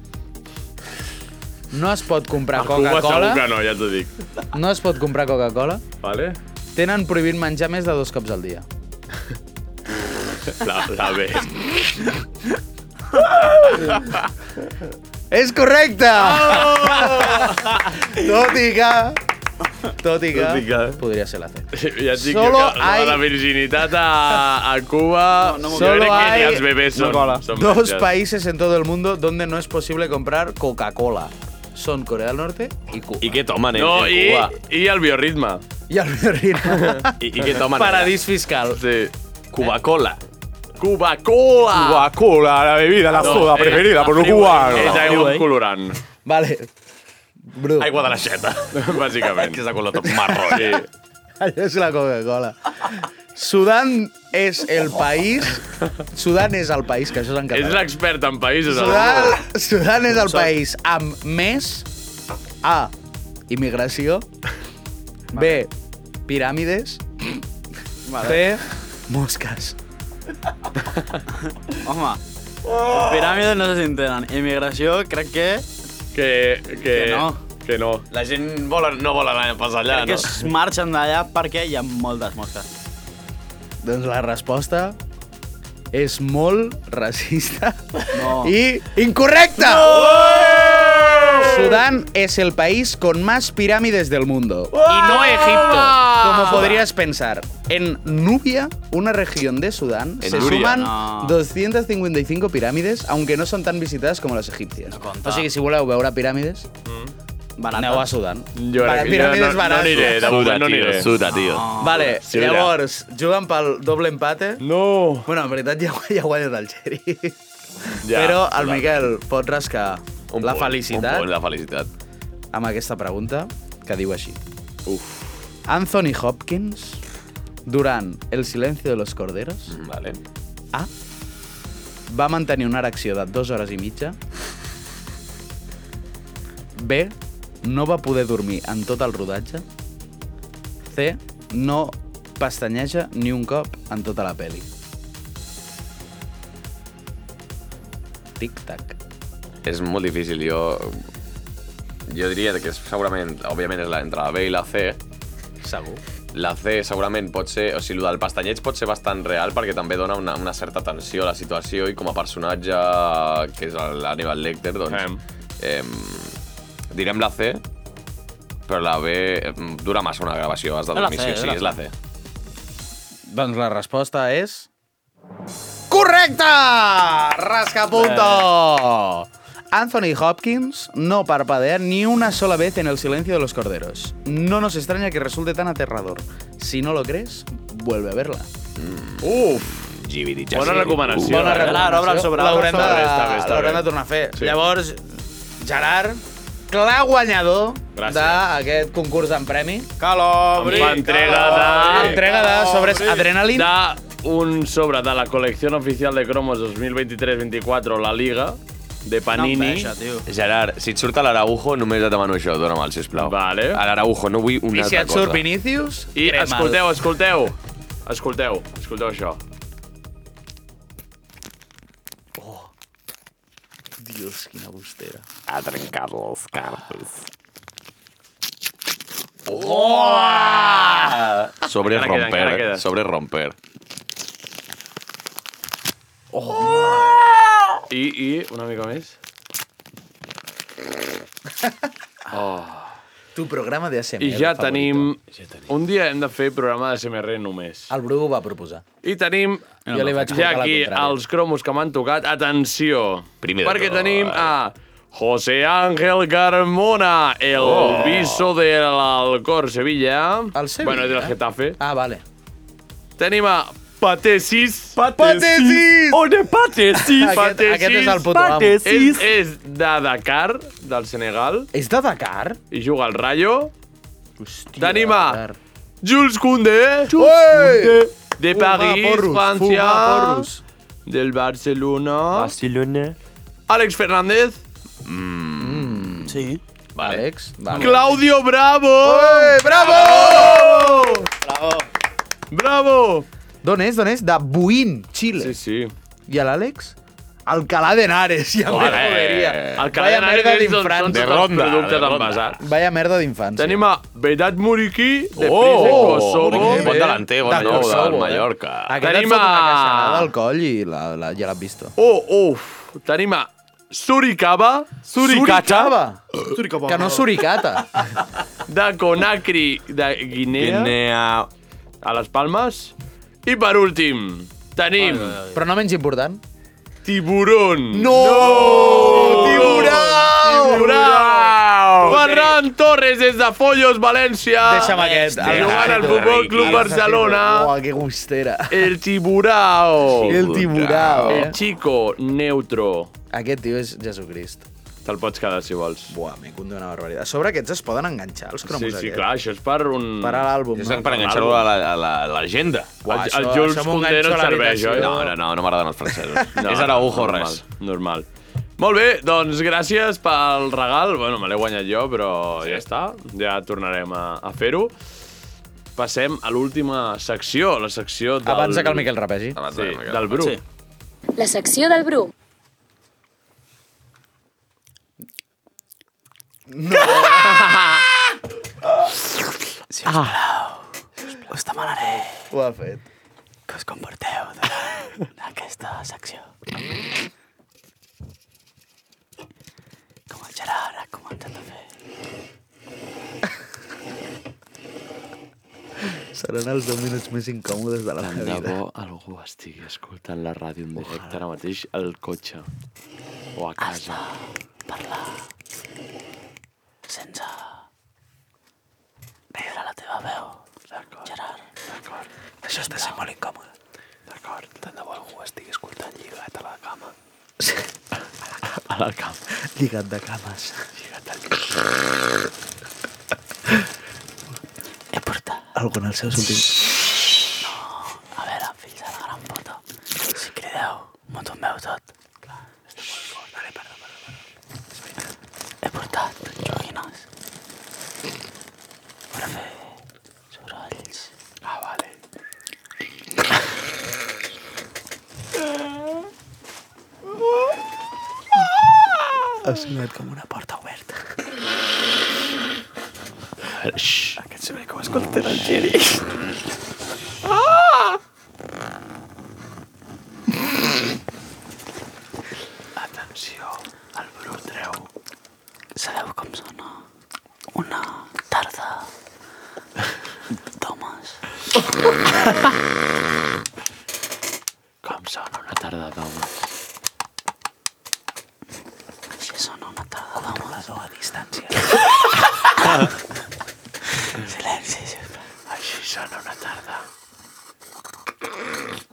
Speaker 3: no es pot comprar
Speaker 2: A Cuba segur que
Speaker 3: Coca-Cola,
Speaker 2: no, ja t'ho dic.
Speaker 3: no es pot comprar Coca-Cola,
Speaker 2: Vale?
Speaker 3: tenen prohibit menjar més de dos cops al dia.
Speaker 2: La, la B.
Speaker 3: És correcte! Oh! tot i que... Tot i que...
Speaker 2: Tot i que.
Speaker 3: Podria ser la C.
Speaker 2: Ja et dic
Speaker 3: Solo
Speaker 2: Solo que hay...
Speaker 3: hay-
Speaker 2: la virginitat a, a Cuba... No, no, jo
Speaker 3: Solo
Speaker 2: crec que ni
Speaker 3: hay
Speaker 2: els bebès són... són
Speaker 3: Dos
Speaker 2: metges.
Speaker 3: países en todo el mundo donde no es posible comprar Coca-Cola. Son Corea del Norte y Cuba.
Speaker 6: I què tomen eh? en,
Speaker 2: No,
Speaker 6: en
Speaker 2: i,
Speaker 6: Cuba?
Speaker 2: i el biorritme.
Speaker 3: I el Berlín.
Speaker 6: I, i què tomen?
Speaker 3: Paradís fiscal.
Speaker 2: Sí.
Speaker 6: Cuba-Cola.
Speaker 2: Cuba-Cola! eh,
Speaker 8: Coca-Cola, la bebida, la soda preferida por los cubanos.
Speaker 2: És aigua amb colorant,
Speaker 3: Vale. Bru,
Speaker 6: Aigua de la xeta.
Speaker 2: bàsicament.
Speaker 6: que és de color tot marró.
Speaker 2: Sí.
Speaker 3: allò és la Coca-Cola. Sudán és el país... Sudán és el país, que això és en
Speaker 2: És
Speaker 3: català.
Speaker 2: l'expert en països.
Speaker 3: Sudan, Sudan és el país amb més... A. Immigració. B. Piràmides. C. Mosques.
Speaker 7: Home,
Speaker 6: Oh!
Speaker 7: piràmides no se s'entenen. Immigració, crec que...
Speaker 2: Que, que,
Speaker 7: Que no.
Speaker 2: Que no.
Speaker 6: La gent vol, no vol anar a passar allà,
Speaker 7: crec que
Speaker 6: no?
Speaker 7: es marxen d'allà perquè hi ha moltes mosques.
Speaker 3: Doncs la resposta és molt racista
Speaker 7: No.
Speaker 3: i incorrecte. Sudán es el país con más pirámides del mundo. Y no Egipto, como podrías pensar. En Nubia, una región de Sudán,
Speaker 6: En
Speaker 3: se
Speaker 6: Nuria.
Speaker 3: suman
Speaker 7: No.
Speaker 3: 255 pirámides, aunque no son tan visitadas como las egipcias.
Speaker 7: compta.
Speaker 3: o sigui, si voleu veure piràmides,
Speaker 7: Barata.
Speaker 3: aneu a Sudán.
Speaker 2: Jo,
Speaker 3: Vale,
Speaker 2: crec-
Speaker 3: piràmides
Speaker 2: no, no
Speaker 3: barates.
Speaker 2: aniré, de moment no aniré.
Speaker 6: Suda, tio.
Speaker 3: Vale,
Speaker 2: Sí, mira.
Speaker 3: llavors, juguen pel doble empate.
Speaker 2: No.
Speaker 3: Bueno, en veritat ja, ja ha guanyat el Xeri.
Speaker 2: Ja,
Speaker 3: Però el Miquel pot rascar la
Speaker 6: punt,
Speaker 3: felicitat.
Speaker 6: Un punt, la felicitat.
Speaker 3: amb aquesta pregunta que diu així. Uf. Anthony Hopkins, durant El silenci de los corderos,
Speaker 6: Mm, Vale.
Speaker 3: A, va mantenir una erecció de dues hores i mitja. B, no va poder dormir en tot el rodatge. C, no pestanyeja ni un cop en tota la peli. Tic-tac.
Speaker 6: És molt difícil, jo... Jo diria que és segurament, òbviament, és la, entre la B i la C.
Speaker 3: Segur.
Speaker 6: La C segurament pot ser... O sigui, el del pestanyeig pot ser bastant real perquè també dona una, una certa tensió a la situació i com a personatge, que és el Hannibal Lecter,
Speaker 2: Em.
Speaker 6: doncs... Em. direm la C, però la B em, dura massa una gravació, has de
Speaker 7: la
Speaker 6: dormir,
Speaker 7: C,
Speaker 6: sí, o sí,
Speaker 7: era
Speaker 6: és la C.
Speaker 3: Doncs la resposta és... Correcte! Rascapunto! Anthony Hopkins no parpadea ni una sola vez en el silencio de los corderos. No nos extraña que resulte tan aterrador. Si no lo crees, vuelve a verla.
Speaker 6: Gibidi,
Speaker 2: Bona recomanació.
Speaker 6: Uh,
Speaker 2: Bona
Speaker 7: recomanació. L'obra sobre l'obra.
Speaker 3: L'haurem de,
Speaker 2: Està bé, està bé, està
Speaker 3: l'haurem
Speaker 2: bé.
Speaker 3: de tornar a fer.
Speaker 2: Sí.
Speaker 3: Llavors, Gerard, clar guanyador
Speaker 2: Gràcies.
Speaker 3: d'aquest concurs en premi.
Speaker 7: Que l'obri!
Speaker 2: Em fa entrega de-
Speaker 3: Entrega de sobres Adrenalin.
Speaker 2: Da un sobre de la colección oficial de cromos 2023-24, la Liga, de
Speaker 7: No em
Speaker 2: Panini.
Speaker 7: deixa, tio.
Speaker 6: Gerard, si et surt l'Araujo, només et demano això, dona'm el, sisplau.
Speaker 2: Vale.
Speaker 6: A l'Araujo, no vull una
Speaker 3: I si
Speaker 6: altra
Speaker 3: et surt
Speaker 6: cosa.
Speaker 3: Vinicius,
Speaker 2: I
Speaker 3: crema'l.
Speaker 2: escolteu, escolteu, escolteu, escolteu això.
Speaker 3: Dios, quina bustera.
Speaker 8: Ha trencat els cartes.
Speaker 6: Sobre
Speaker 2: Encara queda,
Speaker 6: romper,
Speaker 2: encara queda.
Speaker 6: sobre romper.
Speaker 2: I, i una mica més.
Speaker 3: Tu programa de ASMR
Speaker 2: I ja
Speaker 3: favorito.
Speaker 2: tenim... Un dia hem de fer programa de CMR només.
Speaker 3: El Bru ho va proposar.
Speaker 2: I tenim
Speaker 3: Jo Ah. li vaig
Speaker 2: ja
Speaker 3: portar la
Speaker 2: aquí
Speaker 3: contrària.
Speaker 2: els cromos que m'han tocat. Atenció,
Speaker 6: Primer de
Speaker 2: perquè
Speaker 6: tot.
Speaker 2: tenim a José Ángel Carmona, el oh. viso de l'Alcor Sevilla.
Speaker 3: El Sevilla.
Speaker 2: Bueno, del Getafe.
Speaker 3: Ah, vale.
Speaker 2: Tenim a Patesis.
Speaker 3: Patesis!
Speaker 2: O de Patesis.
Speaker 3: Aquest-
Speaker 2: Patesis.
Speaker 3: aquest és el puto amo.
Speaker 2: És, és de Dakar, del Senegal,
Speaker 3: És de Dakar?
Speaker 2: i juga al Rayo.
Speaker 3: Hòstia,
Speaker 2: Tenim a
Speaker 3: Dakar.
Speaker 2: Jules Koundé.
Speaker 3: Ué!
Speaker 2: De
Speaker 3: Fumar
Speaker 2: París,
Speaker 3: porros,
Speaker 2: Francia.
Speaker 3: fumar porros.
Speaker 2: Del Barcelona.
Speaker 8: Barcelona.
Speaker 2: Alex Fernández.
Speaker 7: Sí.
Speaker 3: Àlex, vale.
Speaker 2: Claudio Bravo.
Speaker 3: bravo!
Speaker 2: Bravo.
Speaker 3: D'on és, d'on és? De Buin, Xile.
Speaker 2: Sí,
Speaker 3: Sí,
Speaker 2: sí.
Speaker 3: sí. I a l'Àlex? Alcalá de Henares, ja me
Speaker 2: Vale.
Speaker 3: joderia.
Speaker 2: El Cadena
Speaker 3: merda
Speaker 2: Ares són,
Speaker 3: d'infants.
Speaker 2: són tots
Speaker 6: Eh, De
Speaker 2: els
Speaker 6: ronda, de
Speaker 2: productes del
Speaker 6: ronda.
Speaker 2: basar.
Speaker 3: Vaya merda d'infància.
Speaker 2: Tenim a Vedat Muriqui, de Pris de
Speaker 6: Oh! Muriqui,
Speaker 2: Kosovo.
Speaker 6: bon delanter, bon nou, del
Speaker 3: Kosovo, eh?
Speaker 6: Mallorca.
Speaker 3: Aquest
Speaker 2: Tenim
Speaker 3: Tenim et fot una
Speaker 2: a-
Speaker 3: caixanada al coll i la, la, ja l'has vist.
Speaker 2: Oh, uf. Tenim a Suricaba, Suricata,
Speaker 3: Suricata. Que no suricata.
Speaker 2: de Conakry, de Guinea,
Speaker 6: Guinea.
Speaker 2: a les Palmes. I per últim, tenim
Speaker 3: Però no menys important.
Speaker 2: Tiburón.
Speaker 3: No! Tiburau!
Speaker 2: Tiburau! Ferran Torres des de Follos, València.
Speaker 3: Deixa'm aquest.
Speaker 2: Jugant al Futbol Club Barcelona.
Speaker 3: Uau, que gustera.
Speaker 2: El Tiburao.
Speaker 3: El tiburau.
Speaker 2: El
Speaker 3: Eh?
Speaker 2: Chico Neutro.
Speaker 3: Aquest tio és Jesucrist.
Speaker 2: Te'l pots quedar, si vols.
Speaker 3: Buah, m'he condut una barbaritat. A sobre aquests es poden enganxar, els cromos
Speaker 2: Sí, sí,
Speaker 3: aquests.
Speaker 2: clar, això és per un...
Speaker 3: Per a l'àlbum,
Speaker 6: És
Speaker 3: no?
Speaker 6: per enganxar-ho a la- a la- a l'agenda.
Speaker 3: Uah,
Speaker 2: el-
Speaker 3: això-
Speaker 2: el Jules
Speaker 3: això m'ho
Speaker 2: Condé
Speaker 3: enganxo
Speaker 2: no
Speaker 3: a la
Speaker 2: serveix, oi?
Speaker 3: habitació.
Speaker 6: No, no, no, no m'agraden els francesos.
Speaker 2: No,
Speaker 6: és Araujo,
Speaker 2: normal,
Speaker 6: res.
Speaker 2: Normal. Molt bé, doncs gràcies pel regal. Bueno, me l'he guanyat jo, però ja està. Ja tornarem a, a fer-ho. Passem a l'última secció, la secció del...
Speaker 3: Abans de que el Miquel repegi.
Speaker 6: Abans
Speaker 2: Sí,
Speaker 6: de-
Speaker 2: del Bru.
Speaker 7: Sí.
Speaker 5: La secció del Bru.
Speaker 3: Ho ha fet.
Speaker 8: Que us comporteu de,
Speaker 7: d'aquesta secció. Com el Gerard ha començat a fer.
Speaker 3: Seran els 10 minuts més incòmodes de la
Speaker 2: Tant de
Speaker 3: meva vida.
Speaker 2: bo algú estigui escoltant la ràdio en directe ara mateix al cotxe o a casa.
Speaker 7: Parlar sense veure la teva veu, Gerard.
Speaker 8: Això està sent molt incòmode. D'acord, tant de bo algú estigui escoltant lligat a la cama.
Speaker 2: A la cama.
Speaker 3: Lligat de cames.
Speaker 8: Lligat al llit.
Speaker 7: He portat.
Speaker 3: Algun dels seus últims...
Speaker 7: A veure, fills de la gran puta. Si crideu, m'ho tombeu tot. He portat joguines per fer sorolls.
Speaker 8: Ah, vale.
Speaker 3: Ha sonat com una porta oberta.
Speaker 8: Aquest se ve com escolten el Geri. Ah! Atenció, el Bru treu
Speaker 7: Sabeu com sona una tarda d'homes?
Speaker 2: Com sona una tarda d'home.
Speaker 7: Així sona una tarda d'homes. a distància. Silenci, sisplau.
Speaker 8: Així sona una tarda.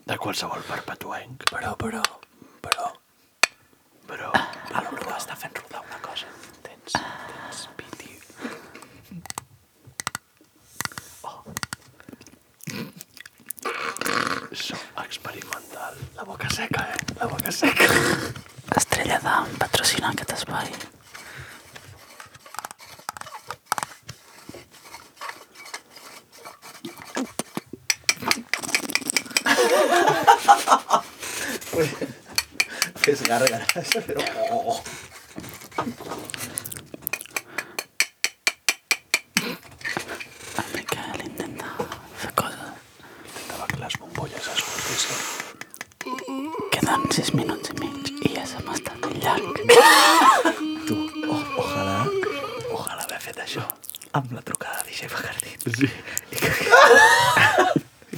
Speaker 8: De qualsevol perpetuenc. Però, però, però... Però...
Speaker 7: Ah,
Speaker 8: El Bru està fent rodar una cosa. Tens, tens piti. Oh. Som experimental. La boca seca, eh? La boca seca.
Speaker 7: Estrella d'Am patrocina aquest espai.
Speaker 3: Fes gàrgares.
Speaker 7: El Miquel intenta fer coses.
Speaker 8: Intentava que les bombolles es fotissin.
Speaker 7: Queden 6 minuts i mig i ja se m'està fent llarg.
Speaker 3: Ojalà, ojalà haver fet això amb la trucada d'Ixer Bacardí. Sí. I que, i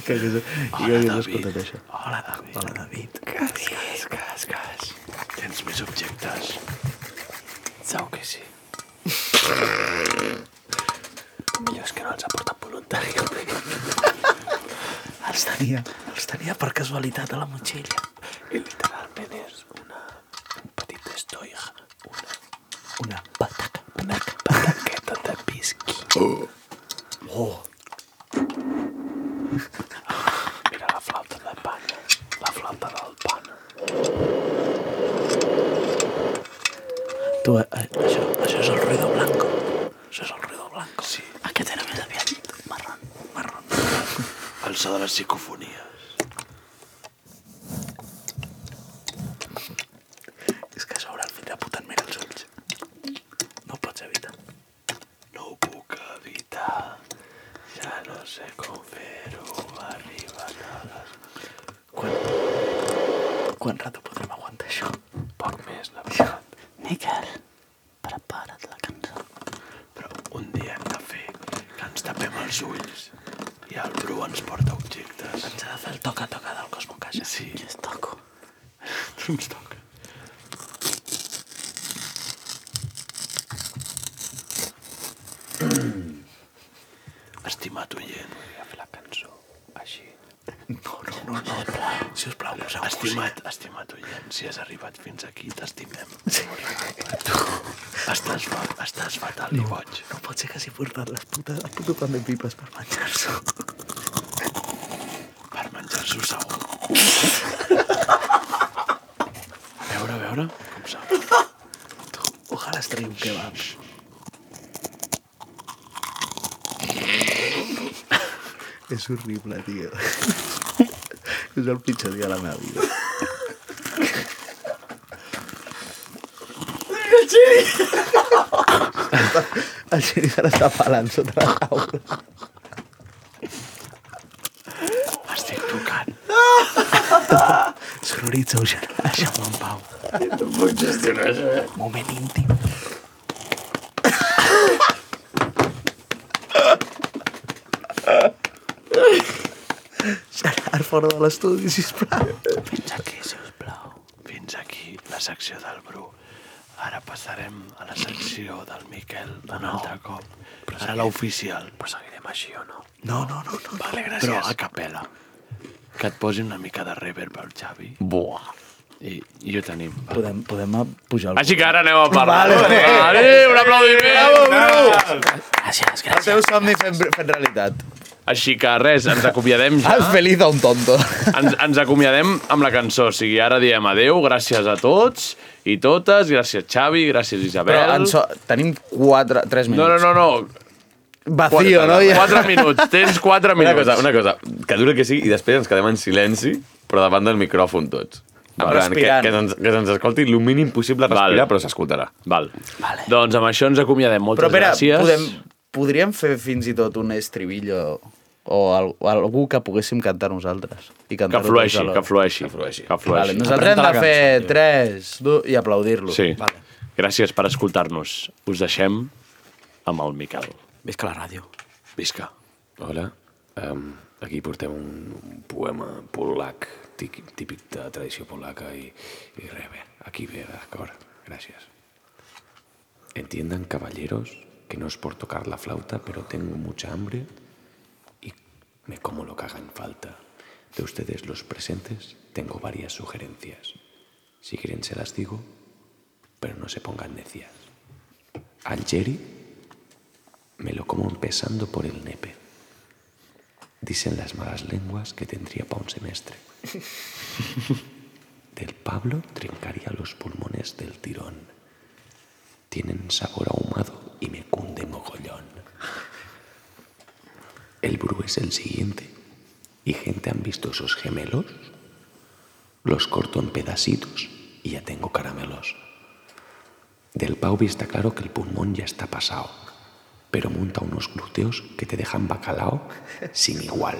Speaker 3: que, i que hagués escoltat això. Hola, David. Hola, David.
Speaker 8: Cas, cas, cas, cas. Tens més objectes? Segur que sí. Millor és que no els ha portat voluntàriament.
Speaker 3: Els tenia, els tenia per casualitat a la motxilla.
Speaker 8: I literalment és una... un petit estoig, una...
Speaker 3: Una pataca.
Speaker 8: una pataqueta de pisqui. Oh.
Speaker 3: Oh.
Speaker 8: Mira la flauta de pana, la flauta del pana.
Speaker 3: Tu, eh, això, això és el ruido blanco. Això és el ruido blanco. Ah, Sí.
Speaker 7: Aquest era més aviat marron.
Speaker 8: El so de les psicofonies.
Speaker 3: És que a sobre el fill de puta et mira els ulls. No ho pots evitar.
Speaker 8: No ho puc evitar. Ja no sé com fer-ho. Arriba nada.
Speaker 3: Quan, quan rato podrem aguantar això?
Speaker 8: Poc més, la veritat.
Speaker 7: Miquel, prepara't la cançó.
Speaker 8: Però un dia hem de fer que ens tapem els ulls i el Bru ens porta objectes.
Speaker 3: Ens ha de fer el toca-toca del Cosmo Caixa.
Speaker 8: Sí,
Speaker 7: I es toco.
Speaker 8: ens toca. Estimat oient. Volia fer la cançó així.
Speaker 3: No, no, no, no. Si us plau, poseu
Speaker 8: Estimat, estimat oient, si has arribat fins aquí, t'estimem. Sí. Estàs, fa- estàs fatal i boig.
Speaker 3: No pot ser que s'hi portat les putes, el puto pan de pipes per menjar-s'ho.
Speaker 8: Per menjar-s'ho segur. A veure, a veure, com sap.
Speaker 3: Ojalà es tregui un kebab. És horrible, tio. És el pitjor dia de la meva vida. El Xeri se l'està pelant sota la taula.
Speaker 8: M'estic tocant.
Speaker 10: Marta! Sonoritza, deixa-ho deixa en pau. No puc gestionar això. Moment íntim. Gerard, fora de l'estudi, sisplau. Fins aquí, sisplau. Fins aquí la secció del Bru. Ara passarem a la secció del Miquel un no. altre cop. Però Ara l'oficial. Però seguirem així o no? No, no, no. no vale, gràcies. Però a capella. Que et posi una mica de reverb al Xavi. Buah. I, i ho tenim. Va.
Speaker 11: Podem, podem pujar el...
Speaker 2: Així que ara anem a parlar. Vale. vale. Un aplaudiment.
Speaker 12: Gràcies, gràcies.
Speaker 3: El teu somni fent, fent realitat.
Speaker 2: Així que res, ens acomiadem ja.
Speaker 3: Has feliz a un tonto.
Speaker 2: Ens, ens acomiadem amb la cançó. O sigui, ara diem adeu, gràcies a tots i totes. Gràcies, Xavi, gràcies, Isabel.
Speaker 3: Però en so... tenim 4, 3
Speaker 2: No, no,
Speaker 3: minuts.
Speaker 2: no, no.
Speaker 3: no. Vacío, no? Ja.
Speaker 2: 4 minuts, tens 4
Speaker 8: Una
Speaker 2: minuts.
Speaker 8: cosa, una cosa, que dura que sigui i després ens quedem en silenci, però davant del micròfon tots. En plan, que,
Speaker 3: Respirant.
Speaker 8: que, ens, que ens escolti el mínim possible respirar,
Speaker 2: Vale.
Speaker 8: però s'escoltarà.
Speaker 2: Val. Vale. Doncs amb això ens acomiadem. Moltes
Speaker 3: Però espera,
Speaker 2: gràcies.
Speaker 3: podem, podríem fer fins i tot un estribillo o al, algú que poguéssim cantar nosaltres. I
Speaker 2: Que
Speaker 3: cantar
Speaker 2: flueixi, que flueixi. Que
Speaker 8: flueixi.
Speaker 2: Que
Speaker 3: Vale,
Speaker 2: flueixi.
Speaker 3: nosaltres hem de fer 3, 2 i aplaudir-lo.
Speaker 2: Sí. Vale. Gràcies per escoltar-nos. Us deixem amb el Miquel.
Speaker 12: Visca la ràdio.
Speaker 8: Visca. Hola. Um, aquí portem un, un poema polac, tic- típic de tradició polaca i, i res, bé, aquí ve, d'acord, gràcies. Entiendan, caballeros, que no es por tocar la flauta, pero tengo mucha hambre y me como lo que hagan falta. De ustedes los presentes tengo varias sugerencias. Si quieren se las digo, pero no se pongan necias. Al Jerry me lo como empezando por el nepe. Dicen las malas lenguas que tendría para un semestre. Del Pablo trincaría los pulmones del tirón. Tienen sabor ahumado y me cunde mogollón. El Bru es el siguiente. ¿Y gente han visto esos gemelos? Los corto en pedacitos y ya tengo caramelos. Del Paubi está claro que el pulmón ya está pasado, pero monta unos glúteos que te dejan bacalao sin igual.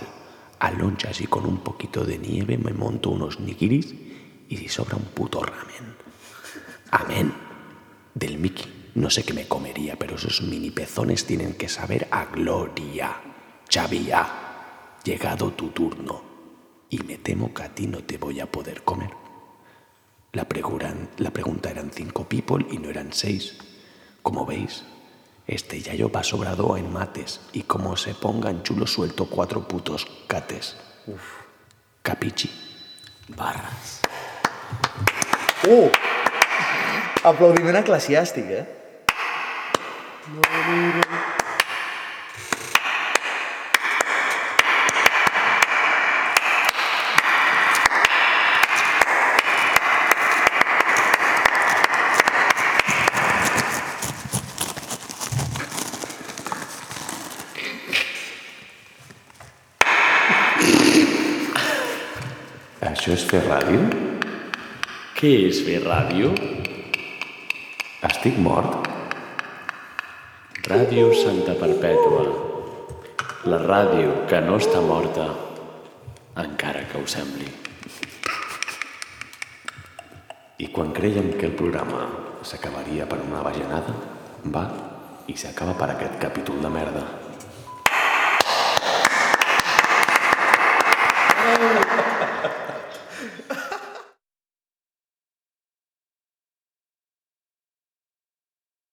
Speaker 8: A lonchas y con un poquito de nieve me monto unos nigiris y si sobra un puto ramen. Amén. Del Mickey, no sé qué me comería, pero esos mini pezones tienen que saber a gloria. Xavi, ha llegado tu turno y me temo que a ti no te voy a poder comer. La, preguran- la pregunta eran cinco people y no eran seis. Como veis, este yayo va sobrado en mates y como se pongan chulo suelto cuatro putos cates. Capichi.
Speaker 12: Barres.
Speaker 3: Uh! Aplaudiment eclesiàstic, eh?
Speaker 10: Això és fer ràdio?
Speaker 2: Què és fer ràdio?
Speaker 10: Estic mort?
Speaker 2: Ràdio Santa Perpètua. La ràdio que no està morta, encara que ho sembli.
Speaker 10: I quan creiem que el programa s'acabaria per una bajanada, va i s'acaba per aquest capítol de merda.